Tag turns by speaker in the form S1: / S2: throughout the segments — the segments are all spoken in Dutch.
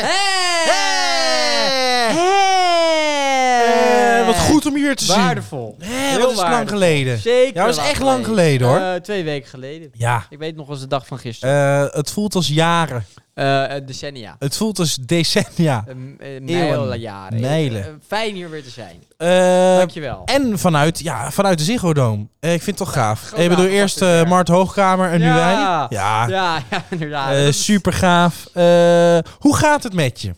S1: en Eh, wat goed om je hier te zien.
S2: Eh. Waardevol.
S1: Hè,
S2: Heel
S1: wat is het lang
S2: waardevol.
S1: geleden.
S2: Zeker.
S1: Ja, dat is echt lang geleden, hoor.
S2: Eh, twee weken geleden.
S1: Ja,
S2: Ik weet nog als de dag van gisteren.
S1: eh, het voelt als jaren.
S2: Eh, eh, decennia.
S1: Het voelt als decennia.
S2: Eh, m- eh,
S1: Eeuwen.
S2: Mijlenjaren.
S1: Mijlen.
S2: Eh, Fijn hier weer te zijn.
S1: Eh,
S2: Dankjewel.
S1: en vanuit, ja, vanuit de Ziggo Dome. Eh, ik vind het toch gaaf.
S2: grote
S1: Ik bedoel,
S2: avond
S1: eerst
S2: was dit
S1: eh,
S2: weer.
S1: Mart Hoogkamer en nu
S2: Ja.
S1: wij. Ja,
S2: Ja, ja, inderdaad.
S1: Ah. eh, super gaaf. hoe gaat het met je?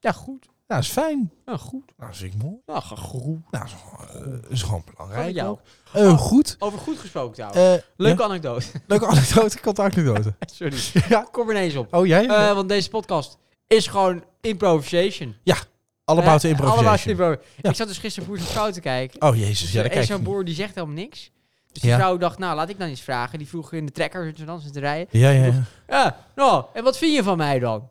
S2: Ja, goed.
S1: Nou, is fijn.
S2: Ja, goed.
S1: Nou, is ik mooi.
S2: Nou, ge- goed.
S1: Nou, is, gewoon- eh, is gewoon
S2: Van
S1: belangrijk.
S2: jou.
S1: ook. Eh, goed.
S2: Over goed gesproken trouwens.
S1: Eh,
S2: Leuke anekdote.
S1: ja? Leuke anekdote, ik had anekdote.
S2: Sorry.
S1: ja.
S2: Kom er ineens op.
S1: Oh, jij?
S2: Eh, want deze podcast is gewoon improvisation.
S1: All about the
S2: Eh,
S1: improvisation.
S2: all about the improvisation.
S1: Ja.
S2: Ik zat dus gisteren Boer zijn Vrouw te kijken.
S1: Oh, jezus. Ja, daar
S2: Er
S1: kijk
S2: is
S1: ik
S2: zo'n
S1: niet.
S2: boer die zegt helemaal niks. Dus die
S1: Ja.
S2: vrouw dacht, nou laat ik dan iets vragen. Die vroeg in de trekker zitten ze dan zitten te rijden.
S1: Ja, ja, ja.
S2: Ja, nou, en wat vind je van mij dan?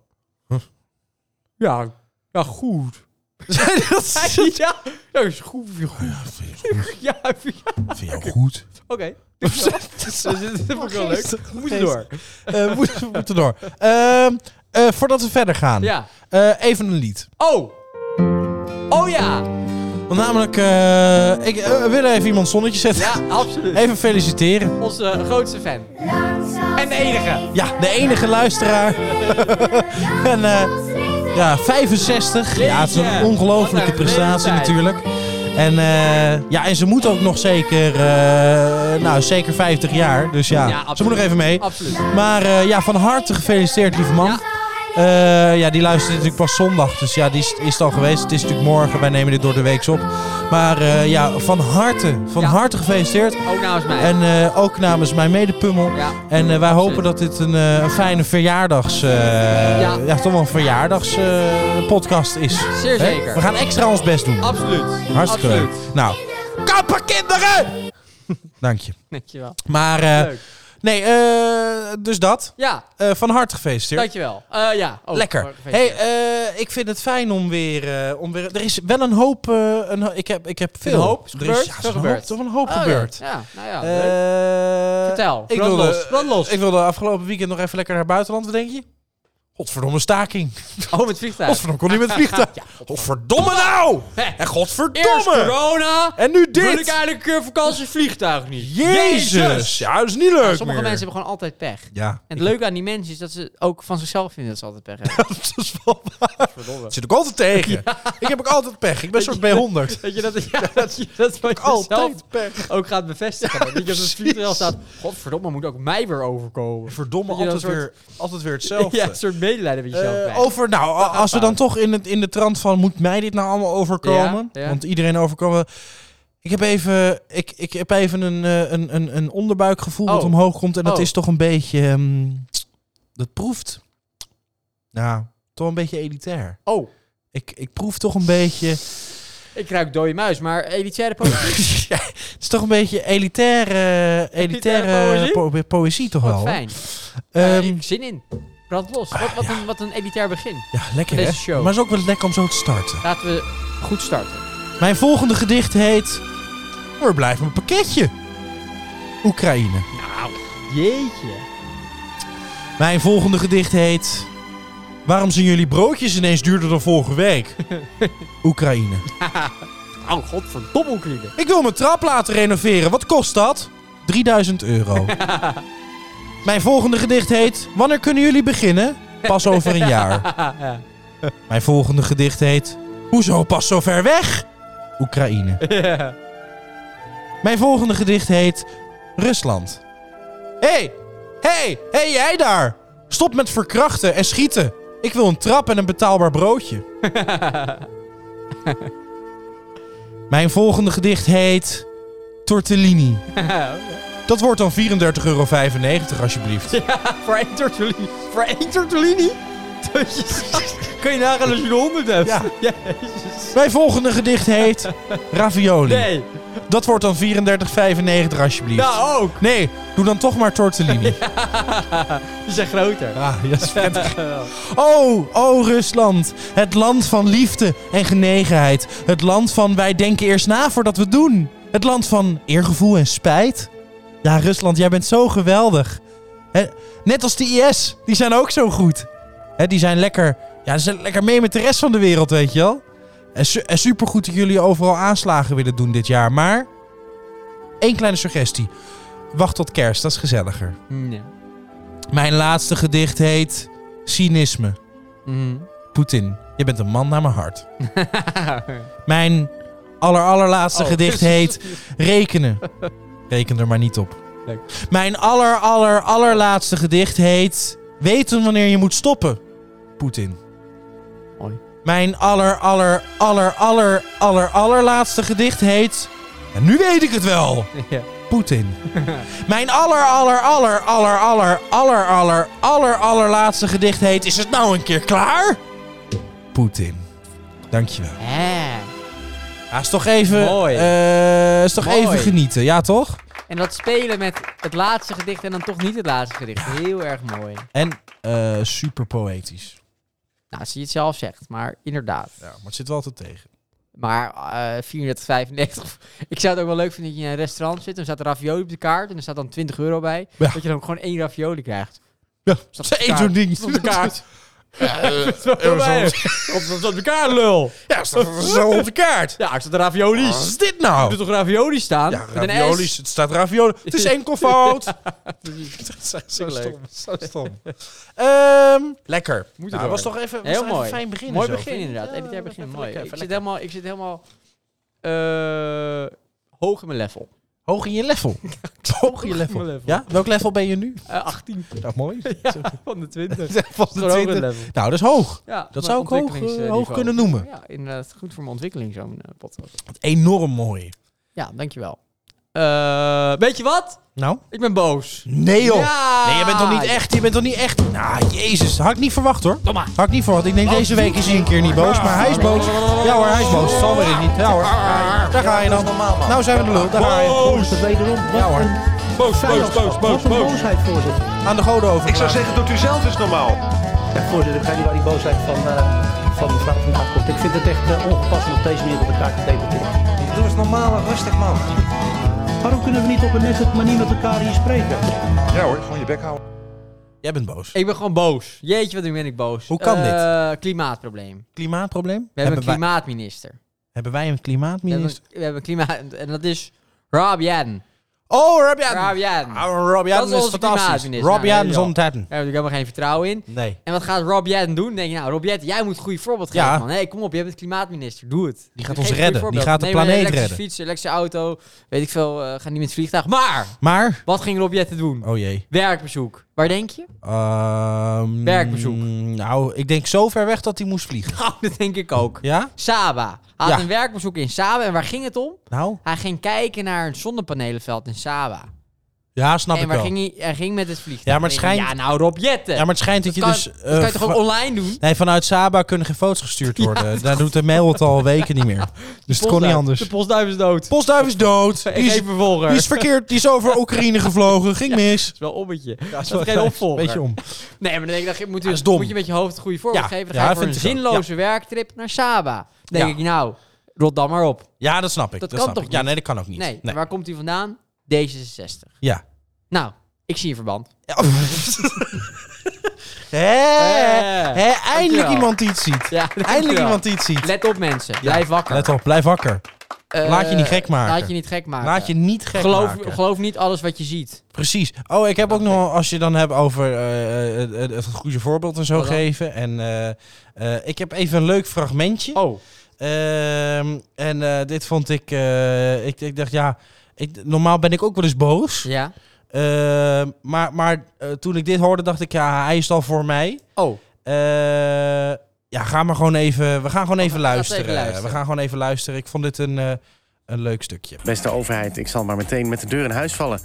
S1: Huh?
S2: Ja, ja, goed.
S1: Dat
S2: Hij
S1: is-
S2: zei, ja, dat is goed.
S1: Ja, vind je goed?
S2: Ja, vind je-
S1: Vind je goed?
S2: oké. Dat is dat vind ik wel leuk.
S1: Geestig,
S2: Moet
S1: geestig.
S2: door.
S1: Eh, we we moeten door. Ehm, eh, voordat we verder gaan,
S2: Ja.
S1: eh, even een lied.
S2: Oh. Oh ja.
S1: Want namelijk, eh, ik eh, we wil even iemand zonnetje zetten.
S2: Ja, absoluut.
S1: Even feliciteren.
S2: Onze grootste fan. En de enige.
S1: Ja, de enige luisteraar. en eh, ja, 65. Ja, het is een
S2: Jeetje. Wat
S1: ongelofelijke
S2: een
S1: prestatie
S2: leeftijd.
S1: natuurlijk. En, eh, ja, en ze moet ook nog zeker, eh, nou, zeker 50 jaar. Dus ja, ze moet nog even mee.
S2: Absoluut.
S1: Maar eh, ja, van harte gefeliciteerd, lieve man.
S2: Ja.
S1: Eh, ja, die luistert natuurlijk pas zondag. Dus ja, die is, is het al geweest. Het is natuurlijk morgen. Wij nemen dit door de week op. Maar eh, ja, van harte, van
S2: Ja.
S1: harte gefeliciteerd.
S2: Ook namens mij.
S1: En eh, ook namens mijn medepummel.
S2: ja.
S1: En eh, wij hopen
S2: Absoluut.
S1: dat dit een, eh, een fijne verjaardags... eh, ja.
S2: Ja.
S1: toch wel een verjaardagspodcast is.
S2: Zeer
S1: Hè?
S2: zeker.
S1: We gaan extra ons best doen.
S2: Absoluut.
S1: Hartstikke leuk.
S2: Absoluut.
S1: Nou, kappen kinderen! Dank je.
S2: Dankjewel.
S1: Maar eh,
S2: Leuk.
S1: nee, eh, dus dat.
S2: Ja,
S1: Eh, van harte gefeliciteerd.
S2: dankjewel. Eh ja. ook
S1: Lekker. Hey,
S2: gefeliciteerd.
S1: eh, ik vind het fijn om weer, eh, om weer. Er is wel een hoop. eh, een, ho- ik, heb, ik heb veel.
S2: Een hoop is
S1: Er
S2: gebeurd,
S1: ja, er is
S2: veel
S1: een
S2: gebeurd.
S1: hoop- toch een hoop
S2: Oh,
S1: gebeurd.
S2: Ja, nou ja. leuk.
S1: Eh,
S2: Vertel.
S1: Ik
S2: brand
S1: wilde,
S2: los. Brand los.
S1: Ik wilde afgelopen weekend nog even lekker naar buitenland. Wat denk je? Godverdomme staking.
S2: oh, met vliegtuig.
S1: Godverdomme kon niet met het vliegtuig.
S2: Ja,
S1: Godverdomme nou!
S2: Hè.
S1: En
S2: Eerst
S1: godverdomme!
S2: corona.
S1: En nu
S2: Wil ik
S1: dit!
S2: eigenlijk een keer vakantie vliegtuig niet.
S1: Jezus! Ja, dat is niet
S2: Ja,
S1: leuk
S2: Nou, sommige
S1: meer.
S2: mensen hebben gewoon altijd pech.
S1: Ja.
S2: En het leuke aan die mensen is dat ze ook van zichzelf vinden dat ze altijd pech hebben.
S1: Dat is wel waar.
S2: Verdomme.
S1: Dat zit ook altijd tegen. Ik heb ook altijd pech. Ik ben soort B100.
S2: Dat je dat, ja, dat, je dat van
S1: Ik
S2: jezelf
S1: altijd pech.
S2: ook gaat bevestigen. dat je op het
S1: precies.
S2: vliegtuig staat. Godverdomme, moet ook mij weer overkomen.
S1: Verdomme,
S2: Dat je dan
S1: altijd,
S2: een
S1: weer, altijd weer hetzelfde.
S2: Ja, een soort medelijden met jezelf.
S1: Eh,
S2: krijgt.
S1: over, nou, a- als we dan toch in, het, in de trant van moet mij dit nou allemaal overkomen?
S2: Ja, ja.
S1: Want iedereen overkomen. Ik heb even, ik, ik heb even een, eh, een, een, een onderbuikgevoel dat
S2: Oh.
S1: omhoog komt. En dat
S2: Oh.
S1: is toch een beetje. ehm, dat proeft. Nou, toch een beetje elitair.
S2: Oh,
S1: Ik, ik proef toch een beetje.
S2: ik ruik dode muis, maar elitaire politiek.
S1: Ja, het is toch een beetje elitaire, elitaire
S2: Elitaire
S1: poëzie? poëzie toch
S2: Wat
S1: wel.
S2: fijn.
S1: Ehm, Ah,
S2: Eh, ik heb zin in. Brand los. Wat, wat, een, wat een elitair begin.
S1: ja, lekker hè?
S2: deze show.
S1: Maar het is ook wel lekker om zo te starten.
S2: Laten we goed starten.
S1: Mijn volgende gedicht heet... Er blijft een pakketje. Oekraïne.
S2: Nou, jeetje.
S1: Mijn volgende gedicht heet... Waarom zijn jullie broodjes ineens duurder dan vorige week? Oekraïne.
S2: Oh, godverdomme Oekraïne.
S1: Ik wil mijn trap laten renoveren. Wat kost dat? 3000 euro. Mijn volgende gedicht heet... Wanneer kunnen jullie beginnen? Pas over een jaar.
S2: Ja,
S1: Mijn volgende gedicht heet... Hoezo pas zo ver weg? Oekraïne.
S2: ja.
S1: Mijn volgende gedicht heet Rusland. Hé, hey, hé, hey, hey, jij daar! Stop met verkrachten en schieten. Ik wil een trap en een betaalbaar broodje. Mijn volgende gedicht heet Tortellini. Dat wordt dan 34,95 euro alsjeblieft.
S2: Voor één tortellini. Voor één tortellini? Kun je nagaan als je de 100 hebt?
S1: Ja.
S2: Jezus.
S1: Mijn volgende gedicht heet Ravioli.
S2: Nee.
S1: Dat wordt dan 34,95 alsjeblieft.
S2: Nou, ook.
S1: Nee, doe dan toch maar tortellini.
S2: Die zijn groter.
S1: Ah, ja, dat is vet. Oh, oh Rusland. Het land van liefde en genegenheid. Het land van wij denken eerst na voordat we het doen. Het land van eergevoel en spijt. Ja, Rusland, jij bent zo geweldig. Hè, net als de IS, die zijn ook zo goed. Hè, die zijn lekker, ja, ze zijn lekker mee met de rest van de wereld, weet je wel. Eh, En, su- en supergoed dat jullie overal aanslagen willen doen dit jaar. Maar, één kleine suggestie. Wacht tot kerst, dat is gezelliger.
S2: Nee.
S1: Mijn laatste gedicht heet Cynisme.
S2: Mhm.
S1: Poetin, je bent een man naar mijn hart. Mijn aller, allerlaatste
S2: Oh.
S1: gedicht heet Rekenen. Reken er maar niet op.
S2: Leuk.
S1: Mijn aller, aller, allerlaatste gedicht heet Weten wanneer je moet stoppen. Poetin.
S2: Mooi.
S1: Mijn aller, aller, aller, aller, aller, allerlaatste gedicht heet En nu weet ik het wel.
S2: ja.
S1: Poetin. Mijn aller, aller, aller, aller, aller, aller, aller, aller, allerlaatste gedicht heet Is het nou een keer klaar? Poetin. Dankjewel.
S2: Ja.
S1: Ja, is toch even,
S2: Mooi.
S1: eh, is toch
S2: Mooi.
S1: even genieten, ja toch?
S2: En dat spelen met het laatste gedicht en dan toch niet het laatste gedicht. Heel erg mooi.
S1: En eh, super poëtisch.
S2: Nou, als je het zelf zegt, maar inderdaad.
S1: Ja, maar het zit wel altijd tegen.
S2: Maar eh 34,95. Ik zou het ook wel leuk vinden dat je in een restaurant zit. En er staat een ravioli op de kaart. En er staat dan 20 euro bij.
S1: Ja.
S2: Dat je dan gewoon één ravioli krijgt.
S1: Ja,
S2: Staat op de
S1: ze eet
S2: kaart.
S1: zo'n ding.
S2: Staat op de kaart. Staat
S1: eh,
S2: erbij. Op staat op de kaart, lul.
S1: Ja, staat zo op de kaart.
S2: Ja, er staat
S1: Wat
S2: raviolis.
S1: is dit
S2: Er
S1: nou?
S2: doet toch ravioli staan?
S1: Ja,
S2: Met een S.
S1: raviolis. Het staat ravioli. Het is enkel fout. Dat is echt
S2: Zo leuk.
S1: Zo stom. Ehm, lekker.
S2: Moet
S1: nou,
S2: erdoor.
S1: was toch even, was
S2: Heel
S1: even
S2: mooi.
S1: een fijn begin.
S2: Mooi
S1: zo.
S2: begin inderdaad.
S1: Ja,
S2: Elitair
S1: even
S2: begin. Mooi.
S1: lekker, even
S2: Ik zit
S1: lekker.
S2: helemaal, ik zit helemaal eh, hoog in mijn level.
S1: Hoog in je level. Hoog in je
S2: in mijn
S1: level.
S2: level.
S1: Ja? Welk level ben je nu?
S2: Eh, 18
S1: Dat mooi.
S2: van de 20. Dat is
S1: Van de
S2: wel hoog in het
S1: 20.
S2: level.
S1: Nou, dat is hoog.
S2: Ja,
S1: Dat
S2: mijn
S1: zou ik hoog, eh,
S2: ontwikkelingsniveau.
S1: hoog kunnen noemen.
S2: Ja, inderdaad. Goed voor mijn ontwikkeling zo'n eh, podcast.
S1: Enorm mooi.
S2: Ja, dankjewel. Eh weet je wat?
S1: Nou?
S2: Ik ben boos.
S1: Nee joh.
S2: Ja!
S1: Nee, je bent toch niet echt, je bent toch niet echt... Nou, jezus, had ik niet verwacht hoor.
S2: Domme.
S1: Had ik niet verwacht. Ik denk deze week is hij een keer niet boos, maar hij is boos. Ja hoor, hij is boos. Zal weer niet. Ja hoor. Daar ga je dan. Nou zijn we de lul, daar ga je.
S3: Boos, wederom.
S1: Ja hoor.
S3: Boos, boos, boos, boos, boos. boosheid, voorzitter.
S1: Aan de goden over.
S4: Ik zou zeggen, doet u zelf eens normaal.
S3: Ja, voorzitter, ik weet niet waar die boosheid van, eh, van mevrouw vandaan komt. Ik vind het echt eh, ongepast om op deze manier met elkaar te debatteren.
S4: Doe eens normaal en rustig, man.
S3: Waarom kunnen we niet op een nette manier met elkaar hier spreken?
S4: Ja hoor, gewoon je bek houden.
S1: Jij bent boos.
S2: Ik ben gewoon boos. Jeetje, wat ben ik boos.
S1: Hoe kan
S2: Eh, Klimaatprobleem.
S1: Klimaatprobleem?
S2: We hebben
S1: hebben,
S2: een
S1: wij,
S2: klimaatminister.
S1: hebben wij een
S2: We hebben,
S1: klimaatminister?
S2: we hebben een klimaat... En dat is Rob Jan.
S1: Oh, Rob Jan.
S2: Rob Jan.
S1: Ah, Rob Jan
S2: Dat is
S1: is
S2: onze
S1: fantastisch.
S2: klimaatminister.
S1: Rob
S2: Ja,
S1: Jan
S2: nee,
S1: is
S2: joh.
S1: ontzettend.
S2: Daar heb ik helemaal geen vertrouwen in.
S1: Nee,
S2: En wat gaat Rob Jetten doen? Dan denk je, nou, Rob Jetten, jij moet een goede voorbeeld
S1: Ja.
S2: geven, man. Hé, kom op, jij bent klimaatminister. Doe het.
S1: die gaat ons
S2: Geef een goed
S1: redden. Die
S2: voorbeeld.
S1: gaat de
S2: Neem een
S1: planeet
S2: elektrische
S1: redden.
S2: fiets, elektrische auto, weet ik veel, eh, ga niet met het vliegtuig. Maar,
S1: Maar,
S2: wat ging Rob Jetten doen?
S1: oh jee.
S2: Werkbezoek. Waar denk je?
S1: Ehm,
S2: Werkbezoek.
S1: Nou, ik denk zo ver weg dat hij moest vliegen.
S2: Nou, dat denk ik ook.
S1: Ja?
S2: Saba. Hij had
S1: Ja.
S2: een werkbezoek in Saba. En waar ging het om?
S1: Nou?
S2: Hij ging kijken naar een zonnepanelenveld in Saba.
S1: Ja, snap
S2: en
S1: ik
S2: waar
S1: wel.
S2: ging hij, hij ging met het vliegtuig.
S1: Ja, maar het
S2: En ik denk,
S1: schijnt-
S2: Ja, nou, Rob Jetten.
S1: Ja, maar het schijnt dat,
S2: dat,
S1: je
S2: kan,
S1: dus...
S2: dat
S1: eh,
S2: kan je toch ook
S1: va-
S2: online doen?
S1: Nee, vanuit Saba kunnen geen foto's gestuurd worden. Daar doet de mail het al weken niet meer. Dus het kon niet
S2: Postduif.
S1: anders.
S2: De postduif is dood.
S1: Postduif is dood. Die
S2: Ik
S1: is,
S2: geef vervolger.
S1: die is verkeerd. Die is over Oekraïne gevlogen. Ging mis.
S2: is wel ommetje.
S1: Dat
S2: is wel geen opvolger.
S1: Beetje om.
S2: Nee, maar dan denk ik, dan moet, u,
S1: Dat is dom.
S2: moet je met je hoofd het goede voorbeeld
S1: Ja,
S2: geven. Dan
S1: ja,
S2: ga je
S1: dat
S2: voor een
S1: vind ik ook.
S2: zinloze werktrip naar Saba. Dan denk
S1: Ja.
S2: ik, nou, rot dan maar op.
S1: Ja, dat snap ik. Dat,
S2: Dat kan
S1: snap
S2: toch
S1: ik. Ja,
S2: niet?
S1: nee, dat kan ook niet.
S2: Nee, waar komt hij vandaan? D66.
S1: Ja.
S2: Nou, ik zie een verband.
S1: Hé,
S2: Eh,
S1: hé, eindelijk
S2: dankjewel.
S1: iemand die iets ziet.
S2: Ja, dat komt
S1: Eindelijk
S2: wel.
S1: iemand die iets ziet.
S2: Let op mensen, blijf wakker.
S1: Let op, blijf wakker.
S2: Eh,
S1: laat je niet gek maken.
S2: Laat je niet gek maken.
S1: Laat je niet gek
S2: geloof,
S1: maken.
S2: geloof niet alles wat je ziet.
S1: Precies. Oh, ik heb ook nog, wel- als je dan hebt over eh, eh, eh, het goede voorbeeld en zo
S2: Wat dan?
S1: geven. En eh, eh, ik heb even een leuk fragmentje.
S2: Oh,
S1: Ehm, en eh, dit vond ik, eh, ik, ik dacht ja, ik, normaal ben ik ook wel eens boos.
S2: ja.
S1: Ehm, maar maar eh, toen ik dit hoorde, dacht ik ja, hij is al voor mij.
S2: Oh,
S1: Eh, ja, ga maar gewoon even, we gaan gewoon even,
S2: gaan
S1: luisteren.
S2: even luisteren.
S1: We gaan gewoon even luisteren. Ik vond dit een, eh, een leuk stukje.
S5: Beste overheid, ik zal maar meteen met de deur in huis vallen.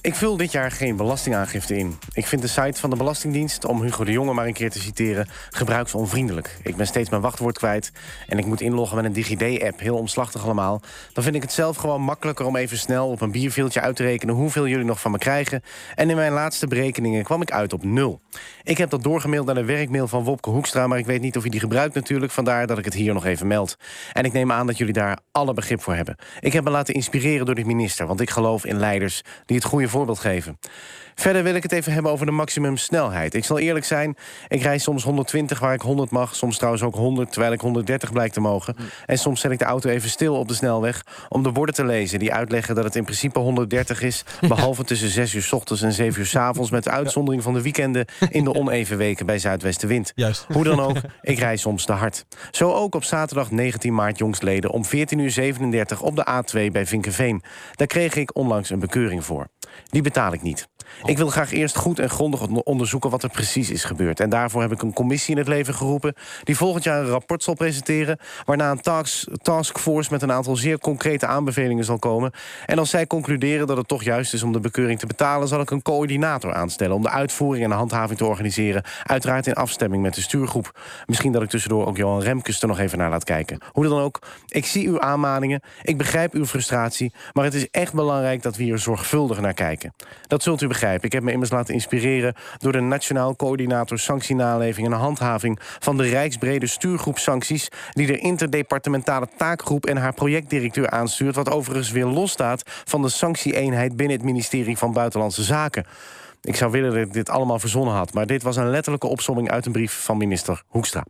S5: Ik vul dit jaar geen belastingaangifte in. Ik vind de site van de Belastingdienst, om Hugo de Jonge maar een keer te citeren, gebruiksonvriendelijk. Ik ben steeds mijn wachtwoord kwijt en ik moet inloggen met een DigiD-app. Heel omslachtig allemaal. Dan vind ik het zelf gewoon makkelijker om even snel op een bierveeltje uit te rekenen hoeveel jullie nog van me krijgen. En in mijn laatste berekeningen kwam ik uit op nul. Ik heb dat doorgemaild naar de werkmail van Wopke Hoekstra, maar ik weet niet of je die gebruikt natuurlijk. Vandaar dat ik het hier nog even meld. En ik neem aan dat jullie daar alle begrip voor hebben. Ik heb me laten inspireren door de minister, want ik geloof in leiders die het goede voorbeeld geven. Verder wil ik het even hebben over de maximumsnelheid. Ik zal eerlijk zijn, ik rijd soms 120 waar ik 100 mag. Soms trouwens ook 100, terwijl ik 130 blijkt te mogen. En soms zet ik de auto even stil op de snelweg om de borden te lezen. Die uitleggen dat het in principe 130 is. Behalve tussen 6 uur 's ochtends en 7 uur 's avonds. Met uitzondering van de weekenden in de oneven weken bij zuidwestenwind.
S1: Juist.
S5: Hoe dan ook, ik rij soms te hard. Zo ook op zaterdag 19 maart jongstleden om 14.37 uur op de A2 bij Vinkenveen. Daar kreeg ik onlangs een bekeuring voor. Die betaal ik niet. Ik wil graag eerst goed en grondig on- onderzoeken wat er precies is gebeurd. En daarvoor heb ik een commissie in het leven geroepen... die volgend jaar een rapport zal presenteren... waarna een task, taskforce met een aantal zeer concrete aanbevelingen zal komen. En als zij concluderen dat het toch juist is om de bekeuring te betalen... zal ik een coördinator aanstellen om de uitvoering en de handhaving te organiseren. Uiteraard in afstemming met de stuurgroep. Misschien dat ik tussendoor ook Johan Remkes er nog even naar laat kijken. Hoe dan ook, ik zie uw aanmaningen, ik begrijp uw frustratie... maar het is echt belangrijk dat we hier zorgvuldig naar kijken. Dat zult u begrijpen. Ik heb me immers laten inspireren... door de Nationaal Coördinator Sanctienaleving en Handhaving... van de Rijksbrede Stuurgroep Sancties... die de interdepartementale taakgroep en haar projectdirecteur aanstuurt... wat overigens weer losstaat van de sanctieeenheid... binnen het ministerie van Buitenlandse Zaken... Ik zou willen dat ik dit allemaal verzonnen had, maar dit was een letterlijke opsomming uit een brief van minister Hoekstra.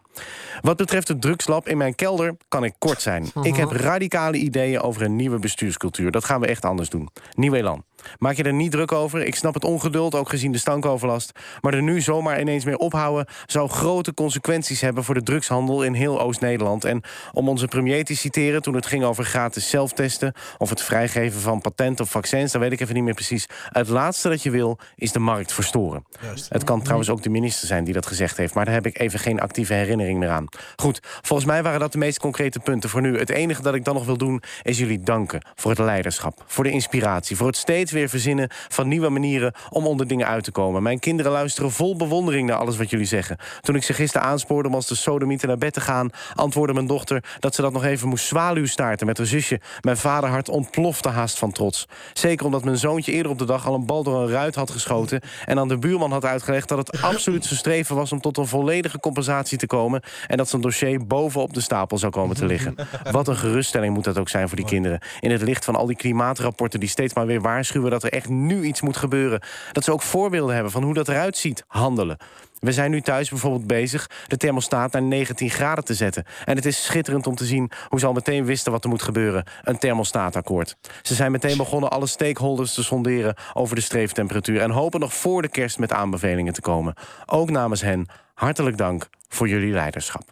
S5: Wat betreft het drugslab in mijn kelder kan ik kort zijn. Ik heb radicale ideeën over een nieuwe bestuurscultuur. Dat gaan we echt anders doen. Nieuw elan. Maak je er niet druk over. Ik snap het ongeduld, ook gezien de stankoverlast. Maar er nu zomaar ineens mee ophouden... zou grote consequenties hebben voor de drugshandel in heel Oost-Nederland. En om onze premier te citeren toen het ging over gratis zelftesten... of het vrijgeven van patent of vaccins, dat weet ik even niet meer precies. Het laatste dat je wil is de markt verstoren. Het kan trouwens ook de minister zijn die dat gezegd heeft... maar daar heb ik even geen actieve herinnering meer aan. Goed, volgens mij waren dat de meest concrete punten voor nu. Het enige dat ik dan nog wil doen is jullie danken voor het leiderschap... voor de inspiratie, voor het steeds weer verzinnen van nieuwe manieren... om onder dingen uit te komen. Mijn kinderen luisteren vol bewondering naar alles wat jullie zeggen. Toen ik ze gisteren aanspoorde om als de sodomieten naar bed te gaan... antwoordde mijn dochter dat ze dat nog even moest zwaluwstaarten met haar zusje. Mijn vaderhart ontplofte haast van trots. Zeker omdat mijn zoontje eerder op de dag al een bal door een ruit had geschoten... en aan de buurman had uitgelegd dat het absoluut zijn streven was... om tot een volledige compensatie te komen... en dat zijn dossier bovenop de stapel zou komen te liggen. Wat een geruststelling moet dat ook zijn voor die kinderen. In het licht van al die klimaatrapporten die steeds maar weer waarschuwen... dat er echt nu iets moet gebeuren. Dat ze ook voorbeelden hebben van hoe dat eruit ziet, handelen. We zijn nu thuis bijvoorbeeld bezig de thermostaat naar 19 graden te zetten. En het is schitterend om te zien hoe ze al meteen wisten wat er moet gebeuren. Een thermostaatakkoord. Ze zijn meteen begonnen alle stakeholders te sonderen over de streeftemperatuur... en hopen nog voor de kerst met aanbevelingen te komen. Ook namens hen hartelijk dank voor jullie leiderschap.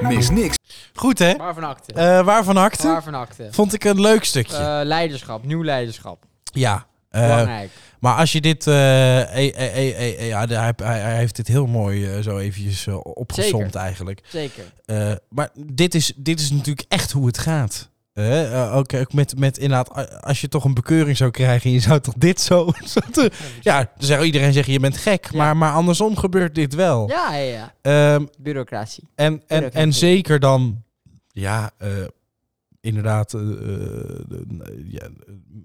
S6: Mis niks.
S1: Goed, hè?
S2: Waarvan acte?
S1: Eh, waarvan acte?
S2: Waarvan acte?
S1: Vond ik een leuk stukje.
S2: Eh, leiderschap, nieuw leiderschap.
S1: ja. eh,
S2: Belangrijk.
S1: maar als je dit... eh, eh, eh, eh, eh, eh, ja, de- hij, hij- hij heeft dit heel mooi eh, zo eventjes eh, opgezomd
S2: Zeker.
S1: eigenlijk.
S2: Zeker.
S1: Eh, maar dit is, dit is natuurlijk echt hoe het gaat. Eh, eh, ook, ook met, met inderdaad, a- als je toch een bekeuring zou krijgen... en je zou toch dit zo... zo te- ja, dan zou iedereen zeggen, je bent gek.
S2: Ja.
S1: Maar, maar andersom gebeurt dit wel.
S2: Ja, ja, ja.
S1: Ehm,
S2: Bureaucratie.
S1: En, en,
S2: dat
S1: en
S2: vind ik.
S1: zeker dan, ja, eh, inderdaad, eh, eh, de- ja,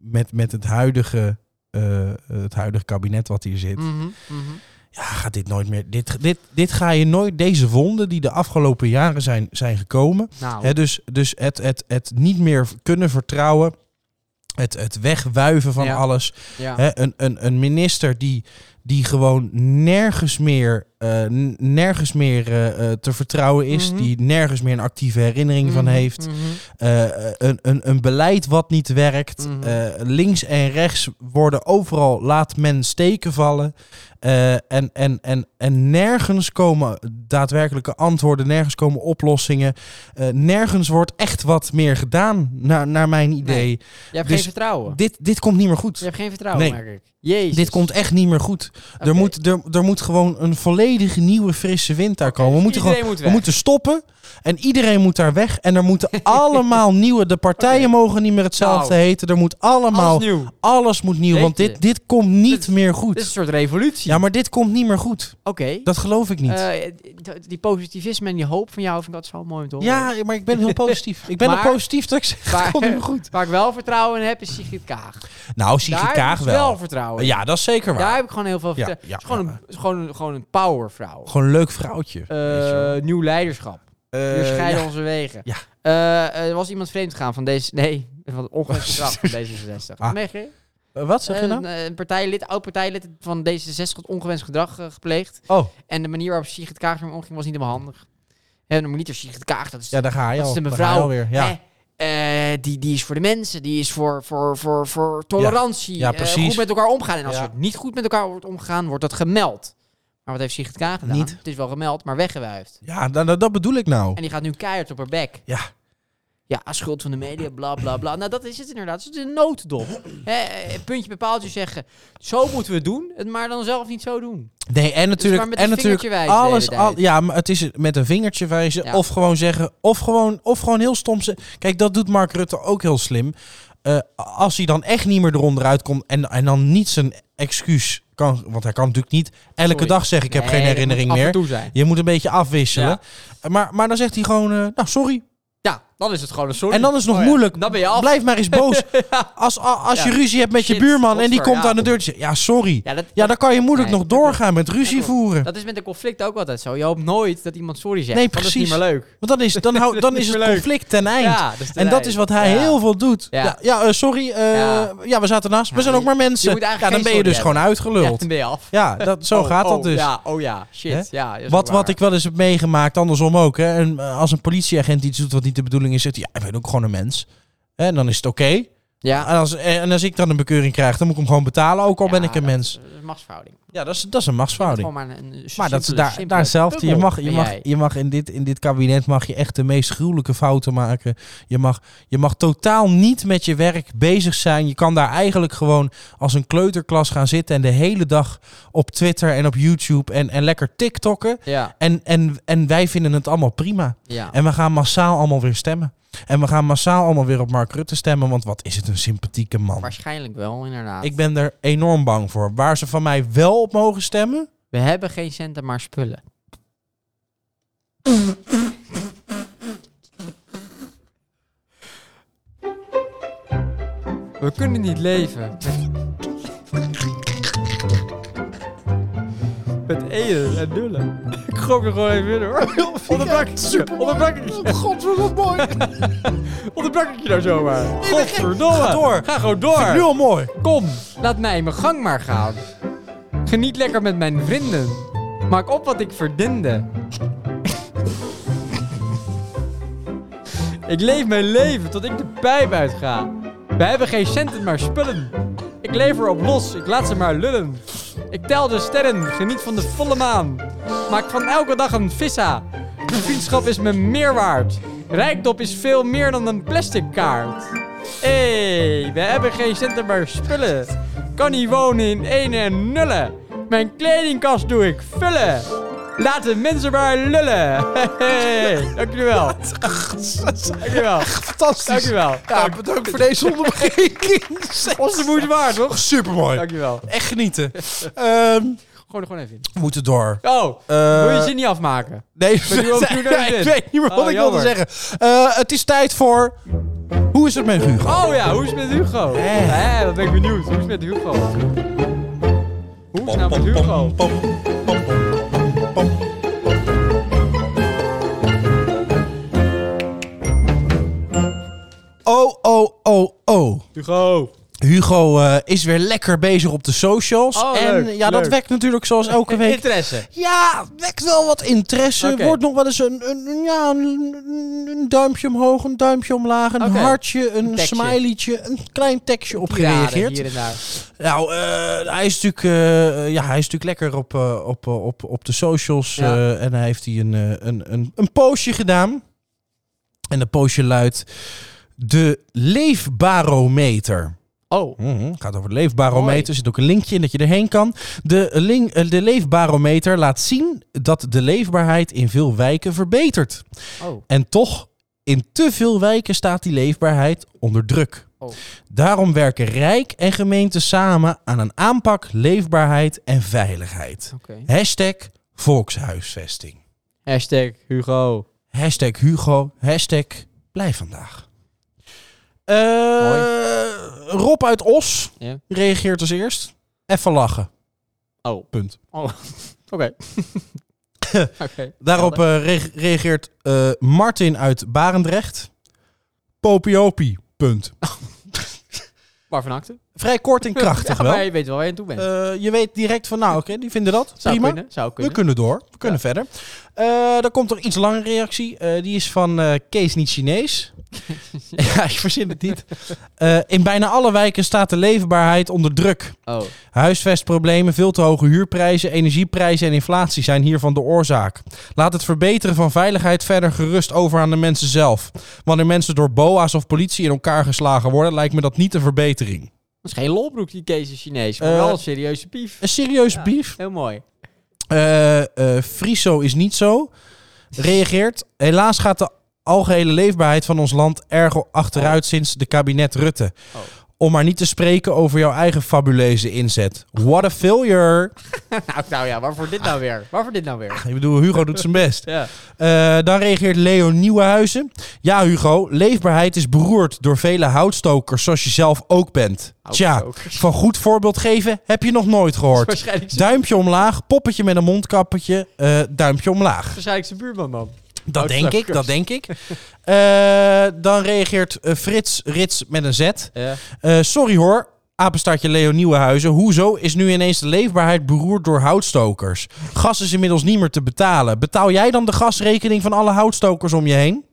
S1: met, met het, huidige, eh, het huidige kabinet wat hier zit,
S2: Mhm, mhm.
S1: ja, gaat dit nooit meer. Dit, dit, dit ga je nooit, deze wonden die de afgelopen jaren zijn, zijn gekomen,
S2: Nou,
S1: hè, dus, dus het, het, het niet meer kunnen vertrouwen. Het, het wegwuiven van
S2: Ja.
S1: alles.
S2: ja.
S1: Hè, een, een, een minister die, die gewoon nergens meer, eh, n- nergens meer eh, eh, te vertrouwen is.
S2: Mhm.
S1: Die nergens meer een actieve herinnering van
S2: Mhm,
S1: heeft.
S2: mhm.
S1: Eh, een, een, een beleid wat niet werkt.
S2: Mhm.
S1: Eh, links en rechts worden overal, laat men steken vallen. Eh, en, en, en, en nergens komen daadwerkelijke antwoorden, nergens komen oplossingen. Eh, nergens wordt echt wat meer gedaan, naar, naar mijn idee.
S2: Je hebt
S1: Dus
S2: geen vertrouwen.
S1: Dit, dit komt niet meer goed.
S2: Je hebt geen vertrouwen,
S1: Nee.
S2: merk ik. Jezus.
S1: Dit komt echt niet meer goed.
S2: Oké.
S1: Er, moet, er, er moet gewoon een volledig nieuwe frisse wind daar komen. We moeten,
S2: Iedereen
S1: gewoon,
S2: moet
S1: we
S2: weg.
S1: moeten stoppen. En iedereen moet daar weg. En er moeten allemaal nieuwe... De partijen
S2: Oké.
S1: mogen niet meer hetzelfde
S2: Nou.
S1: heten. Er moet allemaal...
S2: Alles
S1: Alles,
S2: nieuw.
S1: moet nieuw. Want
S2: Jeetje.
S1: dit, dit komt niet
S2: Dit-
S1: meer
S2: Dit is een
S1: goed.
S2: soort revolutie.
S1: Ja, maar dit komt niet meer goed.
S2: Oké.
S1: Dat geloof ik niet.
S2: Eh, d- die positivisme en die hoop van jou vind ik dat zo mooi om te horen.
S1: ja, maar ik ben heel positief. Ik ben
S2: Maar-
S1: al positief dat ik zeg, het
S2: Waar-
S1: komt niet meer goed.
S2: Waar ik wel vertrouwen in heb, is Sigrid Kaag.
S1: Nou, Sigrid
S2: Daar heb
S1: Kaag
S2: ik
S1: wel.
S2: vertrouwen in.
S1: Ja, dat is zeker waar.
S2: Daar heb ik gewoon heel veel
S1: Ja,
S2: vertrouwen.
S1: ja,
S2: Het is gewoon,
S1: ja.
S2: een, gewoon, een, gewoon een powervrouw.
S1: Gewoon een leuk vrouwtje. weet je wel.
S2: Eh, nieuw leiderschap.
S1: Eh,
S2: We scheiden
S1: ja.
S2: onze wegen.
S1: Ja.
S2: Eh, er was iemand vreemd gegaan van deze... Nee, van ongewenst gedrag van D66.
S1: Oh, Ah.
S2: Meegekregen?
S1: Eh, Wat zeg je nou?
S2: Een, eh, een partijlid, oud partijlid van D66 had ongewenst gedrag eh, gepleegd.
S1: Oh,
S2: En de manier waarop Sigrid Kaag ermee omging was niet helemaal handig. En de manier Sigrid Kaag, dat is
S1: ja, daar ga je
S2: Dat
S1: al.
S2: is de
S1: Daar ga je
S2: mevrouw.
S1: alweer. Ja.
S2: Hè? Eh, die, die is voor de mensen, die is voor, voor, voor, voor tolerantie.
S1: Ja,
S2: eh,
S1: precies.
S2: goed met elkaar omgaan. En als
S1: Ja.
S2: er niet goed met elkaar wordt omgegaan, wordt dat gemeld. Maar wat heeft Sigrid Kaag gedaan?
S1: Niet.
S2: Het is wel gemeld, maar weggewuifd.
S1: Ja, nou, nou, dat bedoel ik nou.
S2: En die gaat nu keihard op haar bek.
S1: Ja.
S2: Ja, schuld van de media, bla bla bla. Nou, dat is het inderdaad. Het is een nooddop. Hè, eh, puntje bij paaltje zeggen. Zo moeten we het doen, het maar dan zelf niet zo doen.
S1: Nee, en natuurlijk,
S2: Dus maar met
S1: en
S2: een
S1: natuurlijk
S2: vingertje wijzen de
S1: alles.
S2: hele tijd.
S1: al- ja, maar het is met een vingertje wijzen.
S2: Ja.
S1: Of gewoon zeggen. Of gewoon, of gewoon heel stom. ze- Kijk, dat doet Mark Rutte ook heel slim. Eh, als hij dan echt niet meer eronder uitkomt. En, en dan niet zijn excuus kan. Want hij kan natuurlijk niet elke
S2: Sorry.
S1: dag zeggen: Ik heb
S2: Nee,
S1: geen
S2: dat moet
S1: herinnering
S2: Af en
S1: meer.
S2: toe zijn.
S1: Je moet een beetje afwisselen.
S2: Ja.
S1: Eh, Maar, maar dan zegt hij gewoon: eh, Nou, sorry.
S2: Ja, dan is het gewoon een sorry.
S1: En dan is het nog
S2: Oh ja,
S1: moeilijk.
S2: Dan ben je af.
S1: Blijf maar eens boos. Als, a- als je
S2: Ja.
S1: ruzie hebt met je
S2: Shit,
S1: buurman. en die
S2: godver,
S1: komt
S2: ja.
S1: aan de deur. die zegt, Ja, sorry.
S2: Ja, dat,
S1: Ja, dan kan je moeilijk
S2: Nee,
S1: nog
S2: dat klopt.
S1: doorgaan met ruzie
S2: klopt.
S1: voeren.
S2: Dat is met een conflict ook altijd zo. Je hoopt nooit dat iemand sorry zegt.
S1: Nee,
S2: want Dat
S1: precies.
S2: is niet meer leuk.
S1: Want dan is, dan hou, dan
S2: Niet
S1: is
S2: meer
S1: het
S2: leuk.
S1: conflict ten eind.
S2: Ja, dat is ten
S1: en dat
S2: eind.
S1: is wat hij
S2: Ja.
S1: heel veel doet. Ja,
S2: Ja.
S1: ja, eh, sorry. eh, ja.
S2: Ja.
S1: we zaten naast. We
S2: Ja,
S1: zijn ook
S2: je-
S1: maar
S2: je
S1: mensen.
S2: moet eigenlijk
S1: Ja, dan
S2: geen
S1: ben je
S2: sorry
S1: dus gewoon
S2: Ja,
S1: uitgeluld.
S2: dan ben je af.
S1: Ja, dat, zo
S2: Oh,
S1: gaat dat
S2: oh,
S1: dus.
S2: Ja, oh ja, shit.
S1: Hè?
S2: Ja, dat is
S1: Wat,
S2: wel
S1: wat
S2: waar.
S1: ik wel eens heb meegemaakt, andersom ook. Hè. En, eh, als een politieagent iets doet wat niet de bedoeling is, zegt hij, ja, ik ben ook gewoon een mens. Hè, En dan is het oké.
S2: Ja,
S1: En, als, eh, en als ik dan een bekeuring krijg, dan moet ik hem gewoon betalen, ook al
S2: Ja,
S1: ben ik een
S2: dat
S1: mens.
S2: is een machtsverhouding.
S1: Ja, dat is, dat is een
S2: Dat is
S1: machtsverhouding.
S2: gewoon maar een, een
S1: Maar dat is
S2: simpele-
S1: daar,
S2: simpele
S1: daar hetzelfde. Je
S2: bubbel
S1: mag, je
S2: ben
S1: mag,
S2: jij.
S1: je mag in, dit, in dit kabinet mag je echt de meest gruwelijke fouten maken. Je mag, je mag totaal niet met je werk bezig zijn. Je kan daar eigenlijk gewoon als een kleuterklas gaan zitten en de hele dag op Twitter en op YouTube en, en lekker TikTokken.
S2: Ja,
S1: En, en, en wij vinden het allemaal prima.
S2: ja.
S1: En we gaan massaal allemaal weer stemmen. En we gaan massaal allemaal weer op Mark Rutte stemmen, want wat is het een sympathieke man.
S2: Waarschijnlijk wel, inderdaad.
S1: Ik ben er enorm bang voor. Waar ze van mij wel op mogen stemmen,
S2: We hebben geen centen, maar spullen. We kunnen niet leven. Met eën en nullen. Ik gooi er gewoon even in hoor. Onderbrak ik je. Onderbrak ik
S1: Oh,
S2: je. Godverdomme mooi. Onderbrak ik je nou zomaar. Godverdomme.
S1: Ga door.
S2: Ga gewoon door.
S1: nu al mooi.
S2: Kom, laat mij mijn gang maar gaan. Geniet lekker met mijn vrienden. Maak op wat ik verdiende. ik leef mijn leven tot ik de pijp uitga. We hebben geen centen, maar spullen. Ik leef erop los, ik laat ze maar lullen. Ik tel de sterren, geniet van de volle maan. Maak van elke dag een vissa. Vriendschap is me meer waard. Rijkdom is veel meer dan een plastic kaart. Hé, hey, we hebben geen centen maar spullen. Kan niet wonen in ene en nullen. Mijn kledingkast doe ik vullen. Laat de mensen maar lullen. Hey, dank jullie wel. Dank jullie wel. Dank
S1: Fantastisch.
S2: jullie wel.
S1: Ja, bedankt voor deze onderbreking.
S2: Onze moeite waard, toch?
S1: Super mooi.
S2: Dank jullie wel. Gooi
S1: Echt genieten. Ehm,
S2: er gewoon even in.
S1: we moeten door.
S2: Oh,
S1: Eh,
S2: wil je ze niet afmaken?
S1: nee,
S2: Ben je ook- doe nou
S1: Ja, ik
S2: dit?
S1: weet niet meer wat
S2: Oh,
S1: ik wilde
S2: jammer.
S1: zeggen. Eh, het is tijd voor. Hoe is het met Hugo?
S2: Oh ja, hoe is het met Hugo? Hé, dat ben ik benieuwd. Hoe is het met Hugo? Hoe is het nou met Hugo?
S1: Oh, oh, oh, oh.
S2: Hugo.
S1: Hugo eh, is weer lekker bezig op de socials.
S2: Oh,
S1: en
S2: leuk,
S1: ja, dat
S2: leuk.
S1: wekt natuurlijk zoals elke week
S2: Interesse.
S1: Ja, wekt wel wat interesse.
S2: Oké.
S1: Wordt nog wel eens een, een, een- ja, een, een duimpje omhoog, een duimpje omlaag, een
S2: Oké.
S1: hartje, een,
S2: Een tekstje.
S1: smileytje, een klein tekstje op
S2: Piraten
S1: gereageerd.
S2: Hier en daar.
S1: Nou, eh, hij, is natuurlijk, eh, ja, hij is natuurlijk lekker op, eh, op, eh, op, op de socials.
S2: Ja.
S1: eh, en hij heeft hij een, eh, een, een, een postje gedaan. En dat postje luidt de leefbarometer.
S2: Oh,
S1: Mhm, Het gaat over de leefbarometer.
S2: Mooi.
S1: Er zit ook een linkje in dat je erheen kan. De, link, eh, de leefbarometer laat zien dat de leefbaarheid in veel wijken verbetert.
S2: oh.
S1: En toch, in te veel wijken staat die leefbaarheid onder druk.
S2: Oh.
S1: Daarom werken Rijk en gemeente samen aan een aanpak leefbaarheid en veiligheid.
S2: Oké.
S1: Hashtag volkshuisvesting.
S2: Hashtag Hugo.
S1: Hashtag Hugo. Hashtag blijf vandaag. Eh, Rob uit Os
S2: Ja.
S1: reageert als eerst. Even lachen.
S2: Oh.
S1: Punt.
S2: Oh. Oké. Oké.
S1: Daarop eh, re- reageert eh, Martin uit Barendrecht. Popiopie. Punt.
S2: Maar van akte.
S1: Vrij kort en krachtig
S2: ja,
S1: wel.
S2: Maar je weet wel waar je aan toe bent.
S1: Eh, je weet direct van, nou oké, die vinden dat.
S2: zou
S1: prima.
S2: kunnen, zou
S1: We
S2: kunnen.
S1: kunnen door. We kunnen verder. Eh dan komt er iets langere reactie. Eh, die is van eh, Kees niet Chinees. ja, ik verzin het niet. Eh, in bijna alle wijken staat de leefbaarheid onder druk.
S2: Oh,
S1: Huisvestproblemen, veel te hoge huurprijzen, energieprijzen en inflatie zijn hiervan de oorzaak. Laat het verbeteren van veiligheid verder gerust over aan de mensen zelf. Wanneer mensen door boa's of politie in elkaar geslagen worden, lijkt me dat niet een verbetering.
S2: dat is geen lolbroek die Kees is Chinees, maar
S1: Eh,
S2: wel een serieuze pief.
S1: Een serieus
S2: Ja.
S1: brief.
S2: Heel mooi.
S1: Eh eh, Friso is niet zo. Reageert. Helaas gaat de algehele leefbaarheid van ons land erg achteruit sinds de kabinet Rutte.
S2: Oh.
S1: Om maar niet te spreken over jouw eigen fabuleuze inzet. What a failure.
S2: nou, nou ja, waarvoor dit nou weer? Waarvoor dit nou weer?
S1: Ik bedoel, Hugo doet zijn best.
S2: Ja.
S1: Eh, dan reageert Leo Nieuwenhuizen. Ja, Hugo, leefbaarheid is beroerd door vele houtstokers, zoals je zelf ook bent. Tja,
S2: Houtstokers.
S1: van goed voorbeeld geven heb je nog nooit
S2: Dat is
S1: gehoord.
S2: waarschijnlijk zijn-
S1: Duimpje omlaag, poppetje met een mondkappertje, eh, duimpje omlaag.
S2: waarschijnlijk zijn buurman, man.
S1: Dat denk ik, dat denk ik. Eh, dan reageert eh, Frits Rits met een Z.
S2: Ja.
S1: Eh, sorry hoor, apenstaartje Leo Nieuwenhuizen. Hoezo is nu ineens de leefbaarheid beroerd door houtstokers? Gas is inmiddels niet meer te betalen. Betaal jij dan de gasrekening van alle houtstokers om je heen?